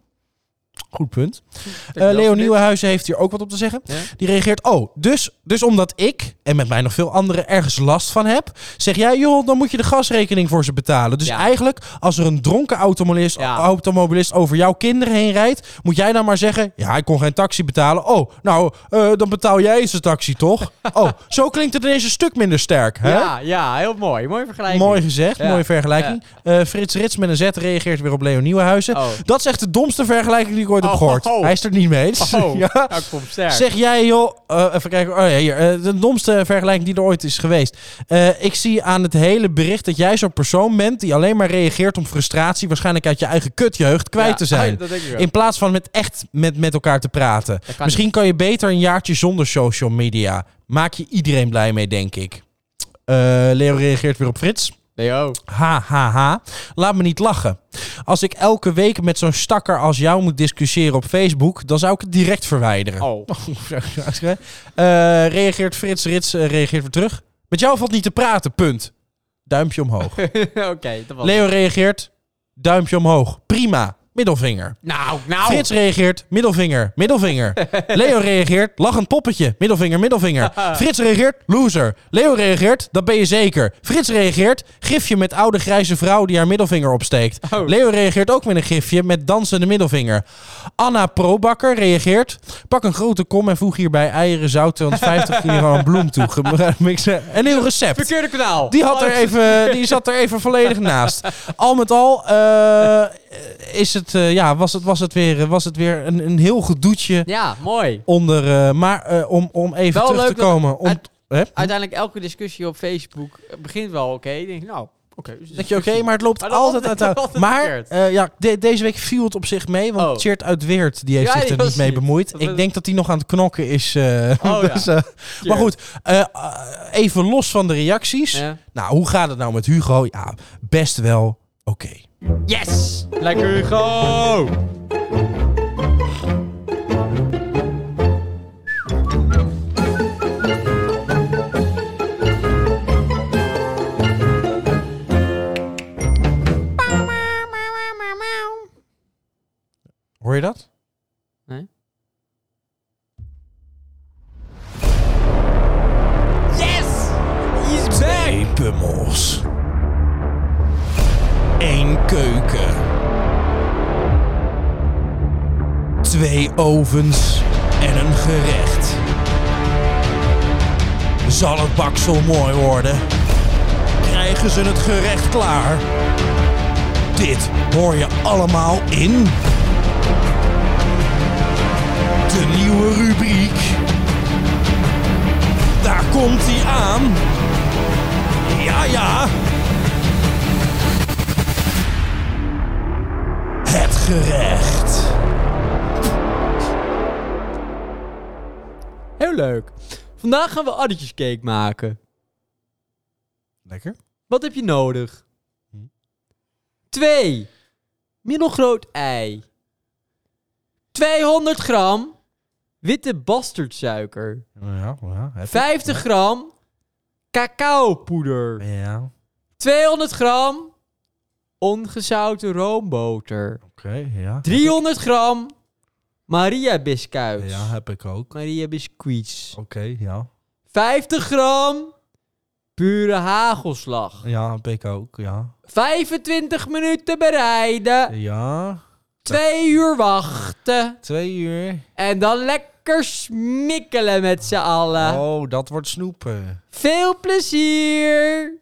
S1: Goed punt. Eh,
S2: Dankjewel
S1: Leo
S2: voor dit.
S1: Nieuwenhuizen heeft hier ook wat op te zeggen.
S2: Ja.
S1: Die reageert, oh, dus, dus omdat ik, en met mij nog veel anderen, ergens last van heb, zeg jij, joh, dan moet je de gasrekening voor ze betalen. Dus
S2: Ja.
S1: eigenlijk, als er een dronken automobilist,
S2: Ja.
S1: automobilist over jouw kinderen heen rijdt, moet jij dan maar zeggen, ja, ik kon geen taxi betalen. Oh, nou, eh, dan betaal jij eens de taxi, toch? oh, zo klinkt het ineens een stuk minder sterk, hè?
S2: Ja, ja, heel mooi. Mooi vergelijking.
S1: Mooi gezegd,
S2: Ja.
S1: mooie vergelijking. Eh, Frits Rits met een Z reageert weer op Leo Nieuwenhuizen.
S2: Oh.
S1: Dat is echt de domste vergelijking die ik ooit heb
S2: Oh,
S1: gehoord.
S2: oh, oh.
S1: Hij is er niet mee eens.
S2: Oh,
S1: Ja.
S2: nou, ik vond hem sterk.
S1: Zeg jij, joh. eh, even kijken. Oh ja, hier. eh, de domste vergelijking die er ooit is geweest. Eh, ik zie aan het hele bericht dat jij zo'n persoon bent. die alleen maar reageert om frustratie. waarschijnlijk uit je eigen kutjeugd kwijt
S2: Ja, Oh,
S1: te zijn.
S2: Dat denk ik wel.
S1: In plaats van met echt met, met elkaar te praten.
S2: Dat kan
S1: Misschien kan je beter een jaartje zonder social media. Maak je iedereen blij mee, denk ik. Eh, Leo reageert weer op Frits.
S2: Leo.
S1: Ha, ha, ha. Laat me niet lachen. Als ik elke week met zo'n stakker als jou moet discussiëren op Facebook, dan zou ik het direct verwijderen.
S2: Oh.
S1: Eh, reageert Frits Rits, eh, reageert weer terug. Met jou valt niet te praten, punt. Duimpje omhoog.
S2: Oké, dat was
S1: Oh. Leo reageert, duimpje omhoog. Prima, middelvinger.
S2: Nou, nou.
S1: Frits reageert, middelvinger, middelvinger. Leo reageert, lachend poppetje, middelvinger, middelvinger. Frits reageert, loser. Leo reageert, dat ben je zeker. Frits reageert, gifje met oude grijze vrouw die haar middelvinger opsteekt.
S2: Oh.
S1: Leo reageert ook met een gifje met dansende middelvinger. Anna Probakker reageert, pak een grote kom en voeg hierbij eieren, zout, 250 kilogram bloem toe. Gemixen. Een heel recept.
S2: Verkeerde kanaal.
S1: Die, had er
S2: Oh,
S1: even, die zat er even volledig naast. Al met al eh, is het, eh, ja, was, het, was het weer, was het weer een, een heel gedoetje
S2: Ja, mooi.
S1: onder. eh, maar eh, om, om even
S2: Wel
S1: terug
S2: leuk
S1: te
S2: dat-
S1: komen. Om,
S2: uit-
S1: hè?
S2: Uiteindelijk elke discussie op Facebook eh, begint wel oké. Ik denk, nou, oké. dus
S1: Dat je oké,
S2: discussie.
S1: maar het loopt
S2: Maar dat
S1: altijd
S2: loopt-
S1: uit.
S2: dat loopt
S1: maar
S2: verkeerd.
S1: eh, ja, de- deze week viel het op zich mee, want
S2: Oh.
S1: Chert uit Weert die heeft
S2: Ja,
S1: zich
S2: die
S1: er niet
S2: was
S1: mee
S2: hier.
S1: bemoeid. Ik
S2: Dat was- Oh,
S1: denk dat hij nog aan het knokken is. eh,
S2: ja.
S1: dus, eh, maar
S2: Cheert.
S1: goed, eh, eh, even los van de reacties.
S2: Ja.
S1: Nou, hoe gaat het nou met Hugo? Ja, best wel oké.
S2: Yes! Lekker Hugo!
S1: Hoor je dat?
S2: Nee. Yes! He's back!
S1: Twee pummels. Eén keuken. Twee ovens en een gerecht. Zal het baksel mooi worden? Krijgen ze het gerecht klaar? Dit hoor je allemaal in. De nieuwe rubriek. Daar komt hij aan. Ja, ja. Het gerecht.
S2: Heel leuk. Vandaag gaan we addetjescake maken.
S1: Lekker.
S2: Wat heb je nodig? Twee. Middelgroot ei. 200 gram. witte bastardsuiker.
S1: Ja, ja. heb ik.
S2: 50 gram cacaopoeder.
S1: Ja,
S2: 200 gram ongezouten roomboter.
S1: oké, ja.
S2: 300 gram Maria biscuits.
S1: Ja, heb ik ook. Oké,
S2: Maria biscuits.
S1: ja.
S2: 50 gram pure hagelslag.
S1: Ja, heb ik ook, ja.
S2: 25 minuten bereiden.
S1: Ja,
S2: 2 uur wachten.
S1: twee uur.
S2: En dan lekker smikkelen met z'n allen.
S1: Oh, dat wordt snoepen.
S2: Veel plezier!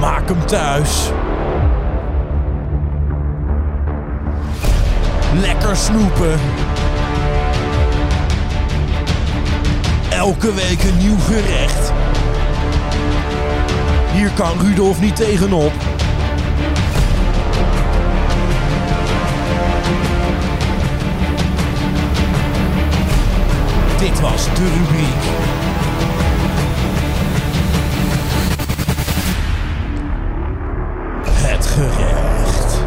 S1: Maak hem thuis. Lekker snoepen. Elke week een nieuw gerecht. Hier kan Rudolf niet tegenop. Dit was de rubriek. Het gerecht.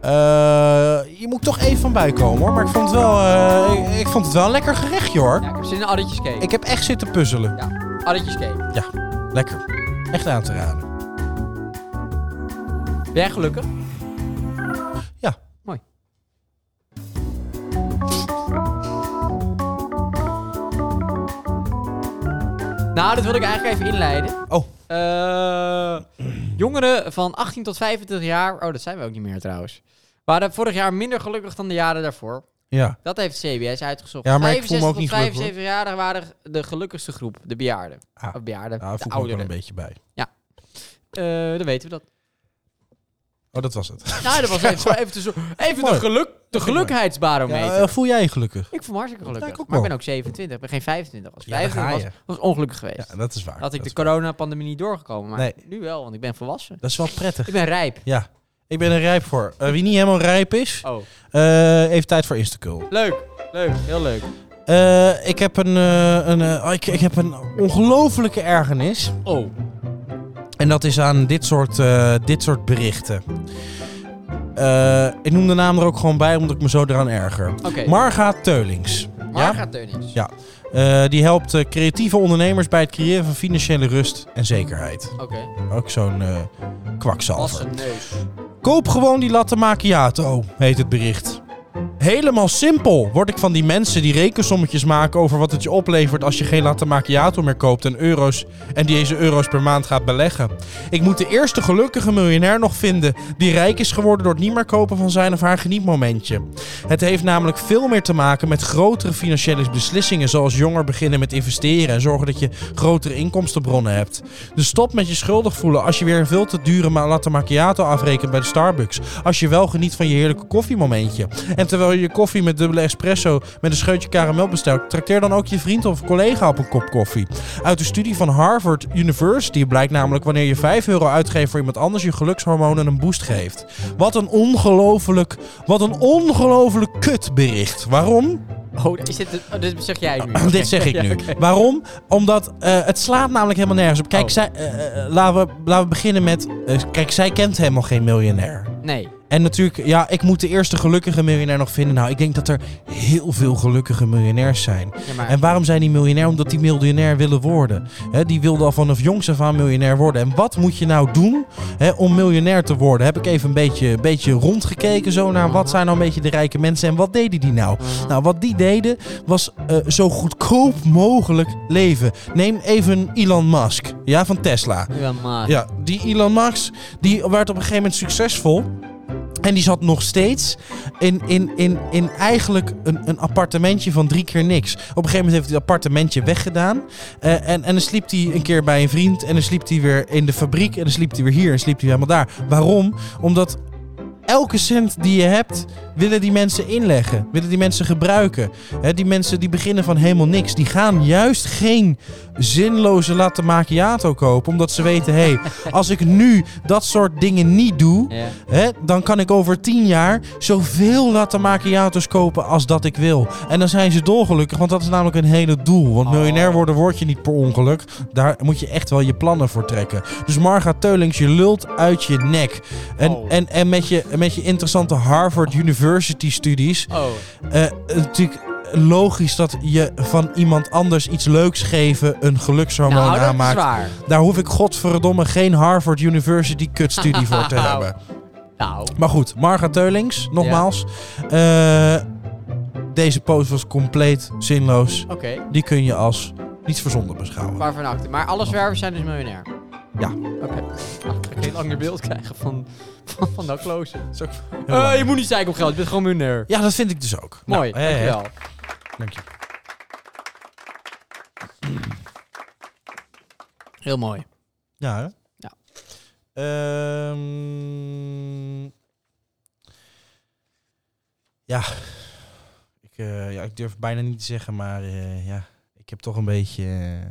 S1: Eh, je moet toch even van bij komen hoor. Maar ik vond het wel, eh, ik, ik vond het wel een lekker gerechtje hoor.
S2: Ja, ik heb zin in addertjescake.
S1: Ik heb echt zitten puzzelen.
S2: Ja, addertjescake.
S1: Ja, lekker. Echt aan te raden.
S2: Ben jij gelukkig?
S1: Ja.
S2: Mooi. Nou, dat wilde ik eigenlijk even inleiden.
S1: Oh,
S2: Eh, jongeren van 18 tot 25 jaar... Oh, dat zijn we ook niet meer trouwens. Waren vorig jaar minder gelukkig dan de jaren daarvoor.
S1: ja.
S2: Dat heeft CBS uitgezocht.
S1: Ja, maar ik voel me ook niet
S2: tot
S1: gelukkig,
S2: 75 jarigen waren de gelukkigste groep. De bejaarden.
S1: Ah.
S2: Of bejaarden.
S1: Nou, daar voel ik me ook
S2: de
S1: wel
S2: ouderen.
S1: een beetje bij.
S2: Eh, dan weten we dat.
S1: Oh, dat was het.
S2: Nou, dat was even, zo- even, de, zo- even de,
S1: Mooi.
S2: geluk, de gelukheidsbarometer.
S1: Ja, eh, voel jij je gelukkig?
S2: ik voel me hartstikke
S1: lijkt
S2: gelukkig.
S1: ook
S2: maar ik
S1: wel.
S2: ben ook 27. Ik ben geen 25. Als ik
S1: Ja, daar
S2: 25
S1: ga
S2: was, was ik ongelukkig
S1: Ja,
S2: geweest.
S1: dat is waar.
S2: had ik
S1: dat,
S2: de
S1: is waar.
S2: coronapandemie niet doorgekomen. Maar
S1: Nee.
S2: nu wel, want ik ben volwassen.
S1: dat is wel prettig.
S2: Ik ben rijp.
S1: Ja, ik ben er rijp voor. Eh, wie niet helemaal rijp is,
S2: Oh,
S1: eh even tijd voor Instacul.
S2: leuk. Leuk, heel leuk.
S1: Eh, ik heb een, eh, een, eh, oh, ik, ik heb een ongelofelijke ergernis.
S2: Oh,
S1: En dat is aan dit soort, eh, dit soort berichten. Eh, ik noem de naam er ook gewoon bij, omdat ik me zo eraan erger.
S2: oké.
S1: Marga Teulings.
S2: Marga Teunings.
S1: Ja. Eh, die helpt eh, creatieve ondernemers bij het creëren van financiële rust en zekerheid.
S2: Oké.
S1: Ook zo'n eh kwakzalver.
S2: Wassen neus.
S1: Koop gewoon die latte macchiato, heet het bericht. Helemaal simpel word ik van die mensen die rekensommetjes maken over wat het je oplevert als je geen latte macchiato meer koopt en euro's en deze euro's per maand gaat beleggen. Ik moet de eerste gelukkige miljonair nog vinden die rijk is geworden door het niet meer kopen van zijn of haar genietmomentje. Het heeft namelijk veel meer te maken met grotere financiële beslissingen zoals jonger beginnen met investeren en zorgen dat je grotere inkomstenbronnen hebt. Dus stop met je schuldig voelen als je weer een veel te dure ma- latte macchiato afrekent bij de Starbucks. Als je wel geniet van je heerlijke koffiemomentje. En terwijl je je koffie met dubbele espresso met een scheutje karamel bestelt, trakteer dan ook je vriend of collega op een kop koffie. Uit de studie van Harvard University blijkt namelijk wanneer je 5 euro uitgeeft voor iemand anders, je gelukshormonen een boost geeft. Wat een ongelooflijk, wat een ongelooflijk kutbericht. Waarom?
S2: Oh, is dit, oh, dit zeg jij nu.
S1: Dit zeg ik nu. Waarom? Omdat eh, het slaat namelijk helemaal nergens op. Kijk,
S2: Oh.
S1: zij, eh, eh, laten, we, laten we beginnen met... eh, kijk, zij kent helemaal geen miljonair.
S2: Nee.
S1: En natuurlijk, ja, ik moet de eerste gelukkige miljonair nog vinden. Nou, ik denk dat er heel veel gelukkige miljonairs zijn.
S2: Ja, maar,
S1: En waarom zijn die miljonair? Omdat die miljonair willen worden. Hè, die wilden al vanaf jongs af aan miljonair worden. En wat moet je nou doen hè, om miljonair te worden? Heb ik even een beetje, beetje rondgekeken zo naar wat zijn nou een beetje de rijke mensen en wat deden die nou? Nou, wat die deden was eh, zo goedkoop mogelijk leven. Neem even Elon Musk, ja, van Tesla.
S2: ja, maar.
S1: Ja, die Elon Musk, die werd op een gegeven moment succesvol. En die zat nog steeds in, in, in, in eigenlijk een, een appartementje van drie keer niks. Op een gegeven moment heeft hij dat appartementje weggedaan. Eh, en, en dan sliep hij een keer bij een vriend. En dan sliep hij weer in de fabriek. En dan sliep hij weer hier. En sliep hij weer helemaal daar. Waarom? Omdat Elke cent die je hebt, willen die mensen inleggen. Willen die mensen gebruiken. Hè, die mensen die beginnen van helemaal niks. Die gaan juist geen zinloze latte macchiato kopen. Omdat ze weten, hé, hey, als ik nu dat soort dingen niet doe...
S2: Ja.
S1: Hè, dan kan ik over tien jaar zoveel latte macchiato's kopen als dat ik wil. En dan zijn ze dolgelukkig, want dat is namelijk een hele doel. Want
S2: Oh.
S1: miljonair worden word je niet per ongeluk. Daar moet je echt wel je plannen voor trekken. Dus Marga Teulings, je lult uit je nek. En,
S5: Oh.
S1: en, en met, je, met je interessante Harvard University studies...
S2: Oh,
S1: eh, natuurlijk logisch dat je van iemand anders iets leuks geven... een gelukshormoon
S2: nou dat is
S1: aanmaakt.
S2: waar.
S1: Daar hoef ik godverdomme geen Harvard University kutstudie voor te hebben.
S2: Nou,
S1: Maar goed, Marga Teulings, nogmaals. Eh, deze post was compleet zinloos.
S2: oké.
S1: Die kun je als niets verzonden beschouwen.
S2: Waarvan acte. Maar alle zwervers zijn dus miljonair.
S1: Ja.
S2: Oké. Ah, ik ga geen ander beeld krijgen van, van, van dat klooster.
S1: Heel
S2: Eh, je
S1: lang.
S2: moet niet zeiken op geld, je bent gewoon miljonair.
S1: Ja, dat vind ik dus ook.
S2: Mooi,
S1: Nou, hè, hè.
S2: dankjewel.
S1: Dank je.
S2: Heel mooi.
S1: Ja, hè?
S2: Ja.
S1: Ehm, ja. Ik, eh, ja, ik durf het bijna niet te zeggen, maar eh, ja, ik heb toch een beetje... eh,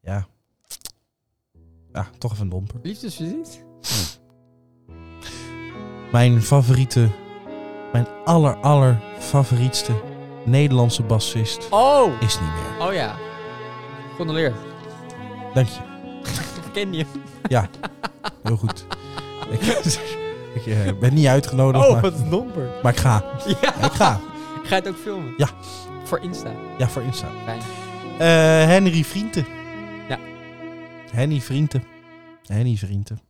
S1: ja. Ja, toch even een domper.
S2: Liefdesverdriet?
S1: Mijn favoriete, mijn aller aller favorietste Nederlandse bassist
S2: Oh!
S1: is niet meer.
S2: Oh ja. Condoleer.
S1: Dank je.
S2: Ken je?
S1: Oh, Heel goed. ik ik eh, ben niet uitgenodigd, maar,
S2: Oh, een domper.
S1: maar ik ga.
S2: Ja.
S1: Ik ga.
S2: Ga je het ook filmen?
S1: Ja.
S2: Voor Insta.
S1: Ja, voor Insta.
S2: Fijn.
S1: Eh, Henry Vrienden.
S2: Ja.
S1: Henny Vrienden. Henny Vrienden.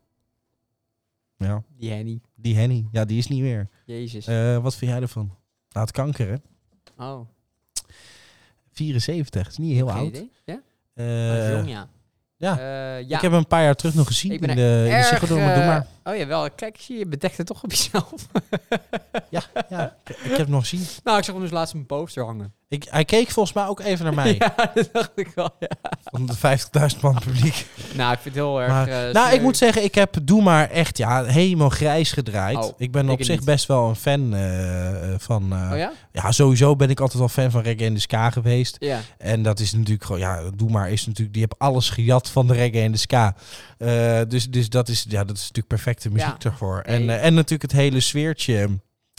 S1: Ja,
S2: Die Henny.
S1: die Henny. Ja, die is niet meer.
S2: Jezus.
S1: Eh, wat vind jij ervan? Na het kanker, hè?
S2: oh.
S1: 74. Is niet heel
S2: geen
S1: oud.
S2: idee. Ja?
S1: Eh,
S2: Hij is jong, ja.
S1: ja.
S2: Eh, ja.
S1: Ik heb hem een paar jaar terug nog gezien
S2: Ik ben
S1: in de, in de
S2: erg,
S1: Ziggo Dome. Doe
S2: eh,
S1: maar.
S2: Oh ja, wel. Kijk, zie je, je bedekt het toch op jezelf.
S1: Ja, ja, ik, ik heb hem nog gezien.
S2: nou, ik zag hem dus laatst op een poster hangen.
S1: Ik, hij keek volgens mij ook even naar mij.
S2: ja, dat dacht ik wel, ja.
S1: Van de 50.000 man publiek.
S2: Nou, ik vind het heel erg...
S1: Maar-
S2: eh,
S1: nou, ik
S2: sneu.
S1: moet zeggen, ik heb Doe Maar echt ja, helemaal grijs gedraaid.
S2: Oh,
S1: ik ben
S2: ik
S1: op
S2: het
S1: zich
S2: niet.
S1: best wel een fan eh, eh, van... eh,
S2: Oh
S1: ja?
S2: ja?
S1: sowieso ben ik altijd wel fan van Reggae in de Ska geweest.
S2: Ja.
S1: En dat is natuurlijk gewoon... Ja, Doe Maar is natuurlijk... Die hebben alles gejat van de Reggae in de Ska. Eh, dus dus dat, is, ja, dat is natuurlijk perfecte muziek
S2: Ja.
S1: daarvoor.
S2: Nee.
S1: En, eh, en natuurlijk het hele sfeertje.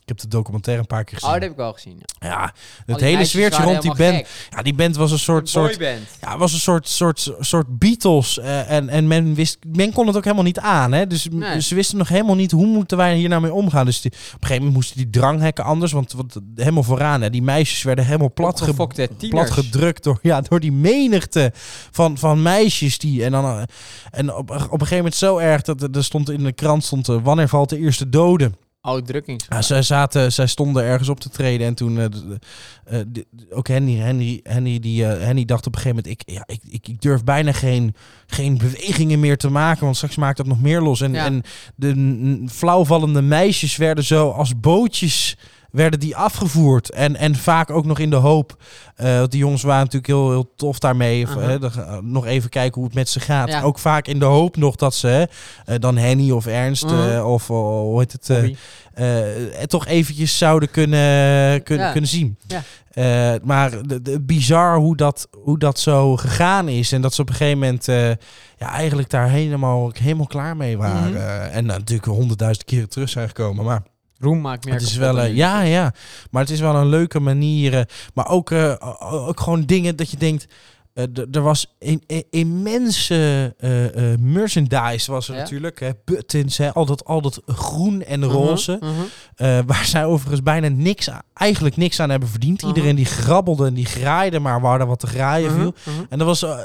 S1: Ik heb de documentaire een paar keer
S2: Oh,
S1: gezien.
S2: dat heb ik wel gezien. ja.
S1: Ja,
S2: Al
S1: het
S2: die
S1: hele
S2: meisjes
S1: sfeertje
S2: waren
S1: rond die
S2: helemaal
S1: band.
S2: gek.
S1: Ja, die band was een soort,
S2: Een
S1: soort,
S2: boyband.
S1: ja, was een soort, soort, soort Beatles. eh, en en men, wist, men kon het ook helemaal niet aan. Hè? Dus m-
S2: Nee.
S1: ze wisten nog helemaal niet hoe moeten wij hier nou mee omgaan. Dus die- op een gegeven moment moesten die dranghekken anders. Want, want helemaal vooraan, hè, die meisjes werden helemaal plat, ge-
S2: Opgefokte
S1: plat
S2: tieners.
S1: gedrukt door, ja, door die menigte van, van meisjes. Die, en dan, eh, en op, op een gegeven moment zo erg dat er er stond in de krant stond... eh, wanneer valt de eerste dode?
S2: Oh, drukkings.
S1: Ja, zij, zaten, zij stonden ergens op te treden en toen... eh, d- eh, d- ook Henny, Henny, Henny, die, eh, Henny dacht op een gegeven moment... Ik, ja, ik, ik, ik durf bijna geen, geen bewegingen meer te maken, want straks maakt dat nog meer los. En,
S2: Ja.
S1: en de n- flauwvallende meisjes werden zo als bootjes werden die afgevoerd. En, en vaak ook nog in de hoop. Eh, want die jongens waren natuurlijk heel, heel tof daarmee. Of,
S2: Aha.
S1: eh, dan ga- eh, nog even kijken hoe het met ze gaat.
S2: Ja.
S1: Ook vaak in de hoop nog dat ze... hè, eh, dan Henny of Ernst
S2: Mhm.
S1: eh, of eh, hoe heet het... eh,
S2: Bobby.
S1: eh, het toch eventjes zouden kunnen, kunnen,
S2: Ja.
S1: kunnen zien.
S2: Ja.
S1: Eh, maar de, de- bizar hoe dat, hoe dat zo gegaan is. En dat ze op een gegeven moment eh, ja, eigenlijk daar helemaal, helemaal klaar mee waren.
S2: Mhm.
S1: Eh, en nou, natuurlijk honderdduizend keren terug zijn gekomen. Maar
S2: Roem maakt meer
S1: het is
S2: kapot
S1: wel,
S2: dan
S1: eh,
S2: nu.
S1: ja, ja. Maar het is wel een leuke manier. eh, maar ook, eh, o- ook gewoon dingen dat je denkt. eh, d- er was een, een- immense eh, eh, merchandise, was er
S2: Ja.
S1: natuurlijk. Hè, buttons, hè, al, dat, al dat groen en
S2: Mhm,
S1: roze.
S2: mhm.
S1: Eh, waar zij overigens bijna niks, aan- eigenlijk niks aan hebben verdiend.
S2: Mhm.
S1: Iedereen die grabbelde en die graaide, maar waar er wat te graaien
S2: Mhm,
S1: viel.
S2: mhm.
S1: En er was, eh, eh,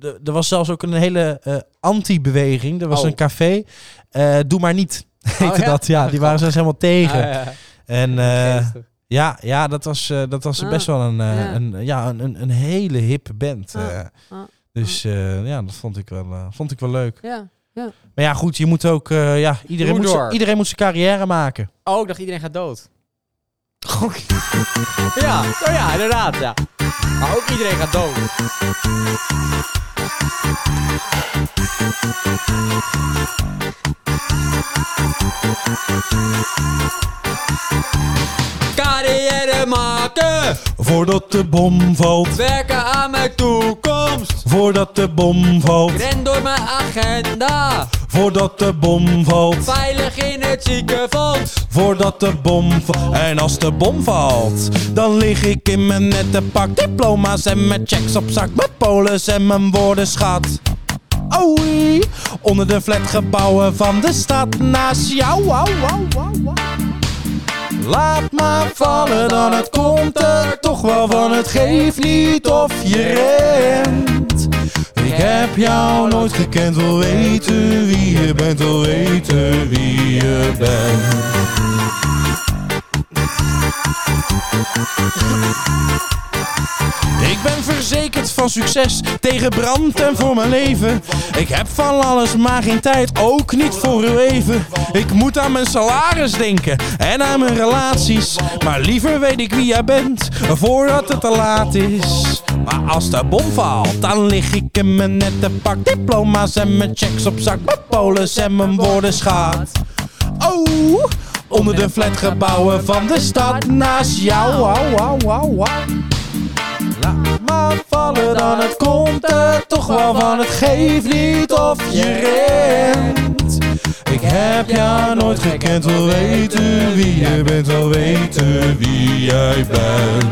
S1: d- er was zelfs ook een hele eh, anti-beweging. Er was
S2: Oh.
S1: een café. eh, Doe maar niet, heette
S2: ja?
S1: dat. Ja, die waren zelfs helemaal tegen.
S2: Ah, ja.
S1: En eh,
S2: Geestig.
S1: ja, ja, dat was, eh, dat was
S2: Ah,
S1: best wel een, eh,
S2: ja.
S1: Een, ja, een, een, een hele hippe band.
S2: Ah,
S1: eh.
S2: ah,
S1: dus eh, ja, dat vond ik, wel, eh, vond ik wel leuk.
S2: Ja.
S1: Maar ja, goed, je moet ook... eh, ja, iedereen,
S2: Doe
S1: moet zijn-
S2: door.
S1: iedereen moet zijn carrière maken.
S2: Oh, ik dacht iedereen gaat dood. ja, oh ja, inderdaad, ja. Maar ook iedereen gaat dood. Carrière maken,
S1: Voordat de bom valt,
S2: werken aan mijn toekomst.
S1: voordat de bom valt,
S2: Ren door mijn agenda,
S1: voordat de bom valt,
S2: veilig in het ziekenfonds.
S1: voordat de bom valt. En als de bom valt, dan lig ik in mijn nette pak diploma's en mijn checks op zak, mijn polis en mijn woordenschat. Oei, onder de flatgebouwen van de stad naast jou. Au, au, au, au. Laat maar vallen, dan het komt er toch wel van. Het geeft niet of je rent. Ik heb jou nooit gekend, wil weten wie je bent, wil weten wie je bent. Ik ben verzekerd van succes tegen brand en voor mijn leven. Ik heb van alles, maar geen tijd, ook niet voor uw even. Ik moet aan mijn salaris denken en aan mijn relaties. Maar liever weet ik wie jij bent voordat het te laat is. Maar als de bom valt, dan lig ik in mijn nette pak diploma's en mijn checks op zak, mijn polis en mijn woordenschat. Oh, onder de flatgebouwen van de stad naast jou. Au, au, au, au. Laat maar vallen, dan het komt er toch wel van. Het geeft niet of je rent. Ik heb jou nooit gekend, wil weten wie je bent, wil weten wie jij bent.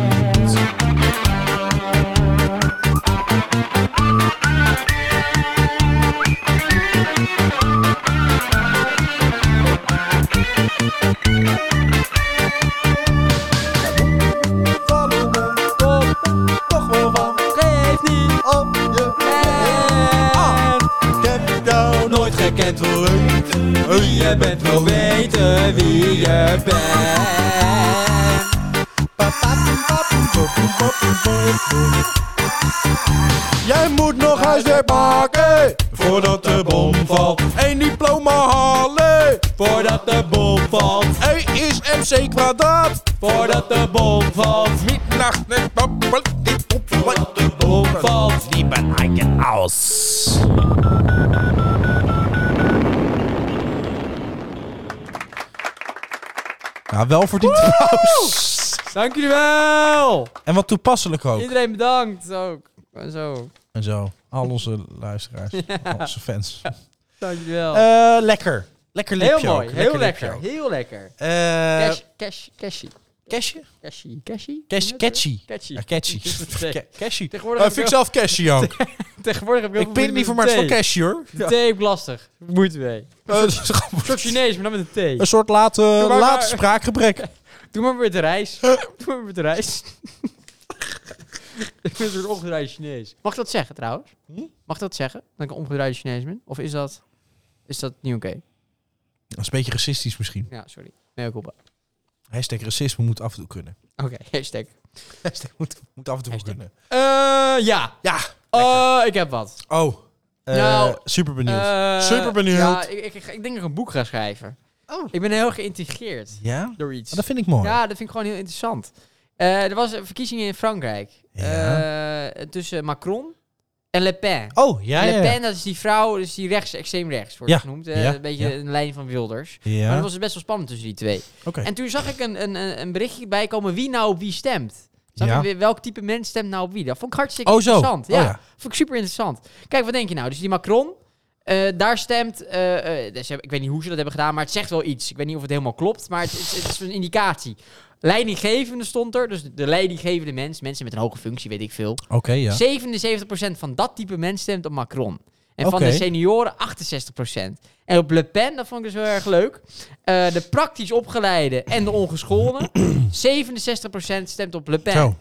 S1: Vallen, dan komt er toch wel van.
S2: Geef niet
S1: Op je
S2: en
S1: Ik heb jou nooit gekend, wil weten wie
S2: je
S1: je
S2: bent wil weten wie je bent.
S1: Jij moet nog huiswerk maken voordat de bom valt. Eén diploma halen
S2: Voordat de bom valt,
S1: E is MC kwadraat.
S2: voordat de bom valt,
S1: Nacht net babbel, dit op wat de
S2: bom
S1: bom valt.
S2: valt.
S1: Lieben eigen aus. Ja, wel verdient applaus.
S2: Dank jullie wel.
S1: En wat toepasselijk ook.
S2: Iedereen bedankt ook. En zo.
S1: En zo, al onze luisteraars, al onze fans.
S2: Dank jullie wel.
S1: Eh, lekker. Lekker lipje
S2: heel mooi.
S1: ook.
S2: heel
S1: lipje
S2: lekker.
S1: ook.
S2: Heel lekker.
S1: Eh,
S2: Cash, cash, cashy.
S1: Cashje?
S2: Cashy. Cashy?
S1: Cash, catchy.
S2: Catchy.
S1: Ja, catchy.
S2: Dat is wat ik zeg.
S1: Ca- Cashy.
S2: Tegenwoordig
S1: Eh,
S2: heb
S1: vind ik
S2: ik
S1: zelf cashy ook.
S2: Tegenwoordig heb ik heel
S1: ik
S2: veel
S1: pin liever
S2: moeite
S1: maar
S2: met
S1: het van
S2: thee.
S1: cashy hoor.
S2: De thee heb ik lastig. Moeite mee.
S1: Eh, dat is gewoon-
S2: Een soort Chinees, maar dan met een thee.
S1: Een soort late,
S2: maar-
S1: late spraakgebrek.
S2: Doe maar weer de reis. Doe maar weer de reis. ik ben een soort omgedraaide Chinees. Mag ik dat zeggen trouwens?
S1: Hm?
S2: Mag ik dat zeggen? Dat ik een omgedraaide Chinees ben? Of is dat, is dat niet oké?
S1: Dat is een beetje racistisch misschien.
S2: Ja, sorry. Nee, ik op. Oké,
S1: Hashtag racisme moet af en toe kunnen.
S2: hashtag.
S1: Hashtag moet, moet af en toe
S2: Hashtag.
S1: kunnen.
S2: Eh, ja.
S1: Ja.
S2: Eh, ik heb wat.
S1: Oh. Eh,
S2: Nou,
S1: super benieuwd.
S2: Eh,
S1: Super benieuwd.
S2: Ja, ik, ik, ik, ik denk dat ik een boek ga schrijven.
S1: Oh.
S2: Ik ben heel geïntrigeerd
S1: ja?
S2: door iets.
S1: Oh, dat vind ik mooi.
S2: Ja, dat vind ik gewoon heel interessant. Eh, er was een verkiezingen in Frankrijk.
S1: Ja.
S2: Eh, tussen Macron en Le Pen.
S1: Oh, ja,
S2: Le
S1: ja.
S2: Pen, dat is die vrouw, dus die rechts, extreem rechts wordt
S1: Ja,
S2: genoemd. Eh,
S1: ja,
S2: Een beetje
S1: ja.
S2: een lijn van Wilders. Maar
S1: Ja,
S2: dat was het best wel spannend tussen die twee.
S1: oké.
S2: En toen zag ik een, een, een een berichtje bijkomen wie nou op wie stemt. Zag
S1: Ja.
S2: ik weer welk type mens stemt nou op wie. Dat vond ik hartstikke
S1: Oh, zo.
S2: interessant.
S1: Oh,
S2: ja.
S1: ja.
S2: vond ik super interessant. Kijk, wat denk je nou? Dus die Macron, eh, daar stemt... eh, eh, dus ik weet niet hoe ze dat hebben gedaan, maar het zegt wel iets. Ik weet niet of het helemaal klopt, maar het, het, het is een indicatie. Leidinggevende stond er, dus de leidinggevende mens, mensen met een hoge functie, weet ik veel.
S1: Oké, ja.
S2: 77% van dat type mensen stemt op Macron. En
S1: Oké.
S2: van de senioren 68%. En op Le Pen, dat vond ik dus heel erg leuk. eh, de praktisch opgeleide en de ongeschoolden. 67% stemt op Le Pen.
S1: Zo.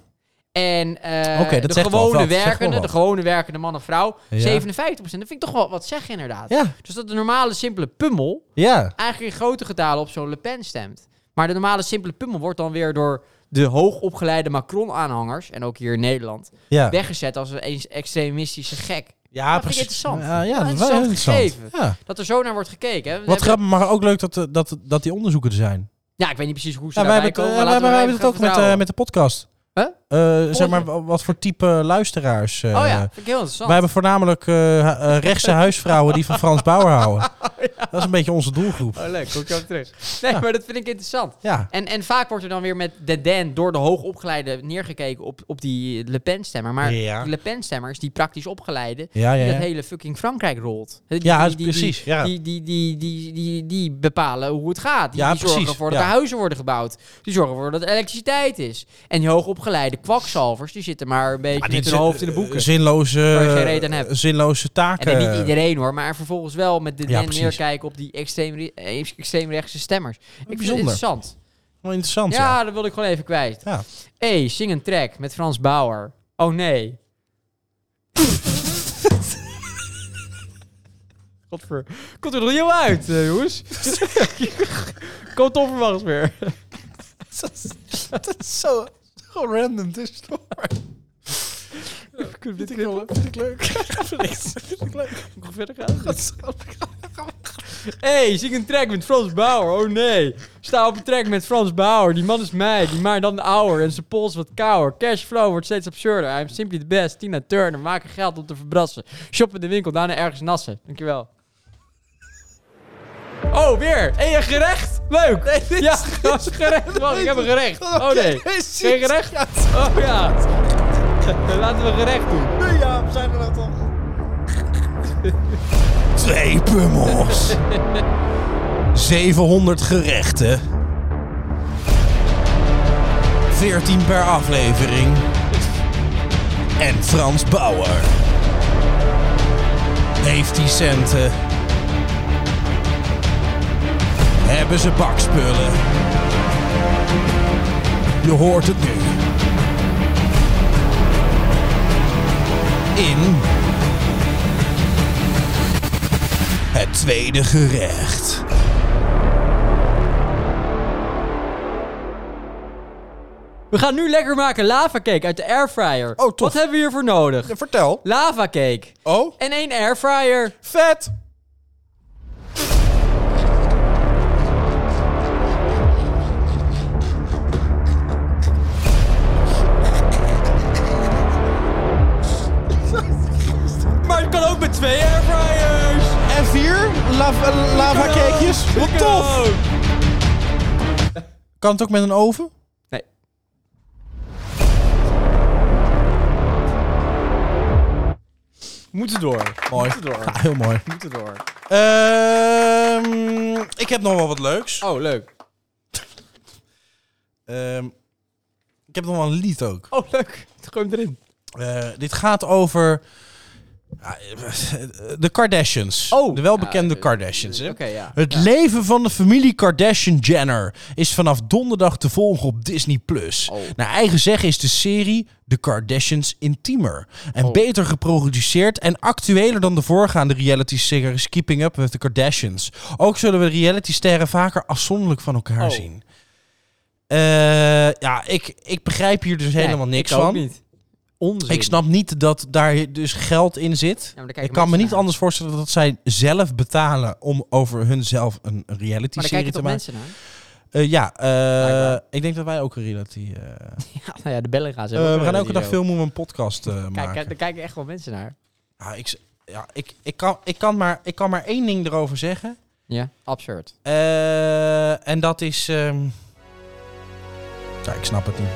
S2: En eh,
S1: Oké, dat
S2: de
S1: zegt wel
S2: gewone
S1: wat, dat zegt wel
S2: werkende, de
S1: wat.
S2: gewone werkende man of vrouw,
S1: Ja.
S2: 57%. Dat vind ik toch wel wat zeggen inderdaad.
S1: Ja,
S2: Dus dat de normale simpele pummel
S1: ja.
S2: eigenlijk in grote getalen op zo'n Le Pen stemt. Maar de normale simpele pummel wordt dan weer door de hoogopgeleide Macron-aanhangers, en ook hier in Nederland,
S1: Ja,
S2: weggezet als een eens- extremistische gek.
S1: ja
S2: vind ik interessant.
S1: Ja, ja,
S2: Wel
S1: dat is wel interessant.
S2: interessant gegeven.
S1: Ja.
S2: Dat er zo naar wordt gekeken. Hè? We
S1: Wat
S2: hebben-
S1: grappig, maar ook leuk dat, eh, dat, dat die onderzoeken er zijn.
S2: Ja, ik weet niet precies hoe ze
S1: Ja, wij
S2: daarbij
S1: hebben het,
S2: komen.
S1: eh, wij-
S2: maar
S1: wij
S2: laten
S1: hebben het
S2: we
S1: ook met, eh,
S2: vertrouwen.
S1: met de podcast.
S2: Huh?
S1: eh, zeg maar, wa- wat voor type luisteraars. eh,
S2: oh ja, vind ik heel interessant.
S1: Wij hebben voornamelijk eh, hu- eh, rechtse huisvrouwen die van Frans Bauer houden. Dat is een beetje onze doelgroep.
S2: Oh leuk, kom ik ook terug. Nee,
S1: Ja.
S2: maar dat vind ik interessant.
S1: Ja,
S2: En, en vaak wordt er dan weer met de Den door de hoogopgeleide neergekeken op, op die Le Pen-stemmer. Maar
S1: Ja.
S2: die Le Pen-stemmers, die praktisch opgeleide,
S1: ja, Ah, ja. ja.
S2: die dat hele fucking Frankrijk rolt. Die-
S1: Ja,
S2: die- die-
S1: precies,
S2: Die,
S1: ja.
S2: Die, die, die, die, die, die bepalen hoe het gaat. Die,
S1: Ja,
S2: die zorgen
S1: precies,
S2: ervoor dat
S1: ja.
S2: er huizen worden gebouwd. Die zorgen ervoor dat er elektriciteit is. En die hoogopgeleide kwakzalvers, die zitten maar een beetje
S1: Maar die eh,
S2: met hun
S1: zin-
S2: hoofd in de boeken. Waar je geen reet aan
S1: Zinloze,
S2: hebt.
S1: zinloze
S2: en dat
S1: taken.
S2: niet iedereen hoor, maar vervolgens wel met de
S1: Ja,
S2: Den
S1: precies.
S2: neerkijken op die extreemri- eh, extreemrechtse stemmers. Ik vind het
S1: Bijzonder.
S2: interessant.
S1: Wel interessant, ja.
S2: Ja, dat wilde ik gewoon even kwijt.
S1: Ja.
S2: hey, zing een track met Frans Bauer. Oh nee. Godver. Komt er nog heel uit, eh, jongens. Komt Toffermans weer.
S1: Dat is zo, zo random. Dit is toch
S2: Kunnen we dit
S1: ik heel- vind ik leuk.
S2: nog verder gaan? hey, zing een track met Frans Bauer. Oh nee. Sta op een track met Frans Bauer. Die man is mij. Die maakt dan de ouwer. En zijn pols wat kouder. Cashflow wordt steeds absurder. I'm simply the best. Tina Turner. Maken geld om te verbrassen. Shop in de winkel. Daarna ergens nassen. Dankjewel. Oh, weer. En een gerecht? Leuk. ja, dat is gerecht. Wacht, ik heb een gerecht. Oh nee. Geen gerecht? Oh ja. Laten we gerecht doen.
S1: Ja, we zijn er wel toch. Twee pummels. 700 gerechten. 14 per aflevering. En Frans Bauer. Heeft die centen. Hebben ze bakspullen. Je hoort het nu. in het tweede gerecht.
S2: We gaan nu lekker maken lavacake uit de airfryer.
S1: tof.
S2: Wat hebben we hiervoor nodig?
S1: Vertel.
S2: Lavacake.
S1: Oh,
S2: En één airfryer.
S1: vet.
S2: Maar het kan ook met twee airfryers.
S1: En vier lava, lava cakejes. Wat tof. Kan het ook met een oven?
S2: Nee. Moeten door.
S1: Mooi.
S2: Moeten door.
S1: Ja, heel mooi.
S2: Moeten door.
S1: Ehm, ik heb nog wel wat leuks.
S2: Oh, leuk.
S1: Ehm, ik heb nog wel een lied ook.
S2: Oh, leuk. Gooi hem erin.
S1: Eh, dit gaat over ja, de Kardashians.
S2: Oh.
S1: de welbekende
S2: Ja,
S1: Kardashians.
S2: Oké,
S1: hè?
S2: ja.
S1: Het leven van de familie Kardashian-Jenner is vanaf donderdag te volgen op Disney+.
S2: Oh.
S1: Naar eigen zeggen is de serie The Kardashians intiemer. En
S2: Oh.
S1: beter geproduceerd en actueler dan de voorgaande reality-series Keeping Up with the Kardashians. Ook zullen we reality-sterren vaker afzonderlijk van elkaar
S2: Oh.
S1: zien. Eh, ja, ik, ik begrijp hier dus helemaal
S2: Nee,
S1: niks
S2: ik ook
S1: van.
S2: niet. Onzin.
S1: Ik snap niet dat daar dus geld in zit.
S2: maar dan kijken
S1: ik kan me
S2: mensen
S1: niet
S2: naar.
S1: anders voorstellen dat zij zelf betalen om over hunzelf een een reality
S2: Maar dan
S1: serie
S2: kijken
S1: te
S2: toch
S1: maken.
S2: mensen naar?
S1: Eh, ja, eh,
S2: Blijkbaar.
S1: ik denk dat wij ook een reality. eh,
S2: Ja, nou ja, de bellen gaan ze
S1: eh, we gaan elke dag filmen om een podcast eh,
S2: Kijk,
S1: maken.
S2: kijk, daar kijken echt wel mensen naar.
S1: Ja, ik, z- ja, ik, ik, kan, ik, kan maar, ik kan maar één ding erover zeggen.
S2: Ja, absurd.
S1: Eh, en dat is. ehm, Ja, ik snap het niet.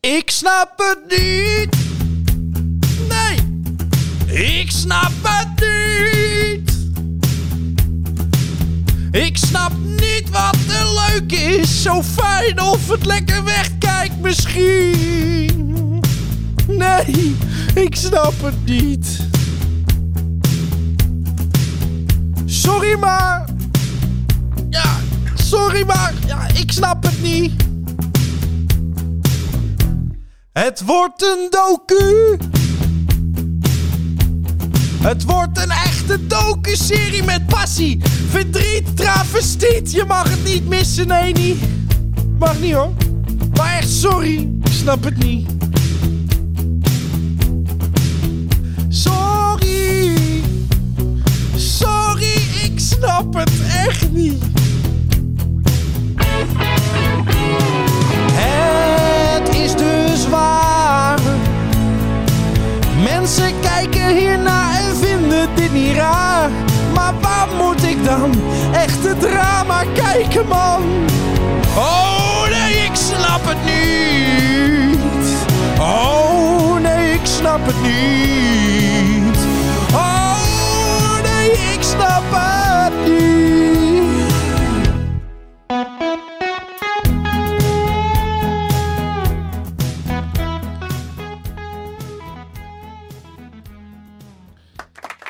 S1: Ik snap het niet. Nee. Ik snap het niet. Ik snap niet wat er leuk is. Zo fijn of het lekker wegkijkt misschien. Nee, ik snap het niet. Sorry maar. Ja, sorry, maar ja, ik snap het niet. Het wordt een docu. Het wordt een echte docu-serie met passie, verdriet, travestiet. Je mag het niet missen, nee, niet. Mag niet hoor. Maar echt sorry, ik snap het niet. Sorry. Sorry, ik snap het echt niet. Het is dus waar. Mensen kijken hierna en vinden dit niet raar. Maar waar moet ik dan echte drama kijken, man? Oh nee, ik snap het niet. Oh nee, ik snap het niet. Oh nee, ik snap het niet.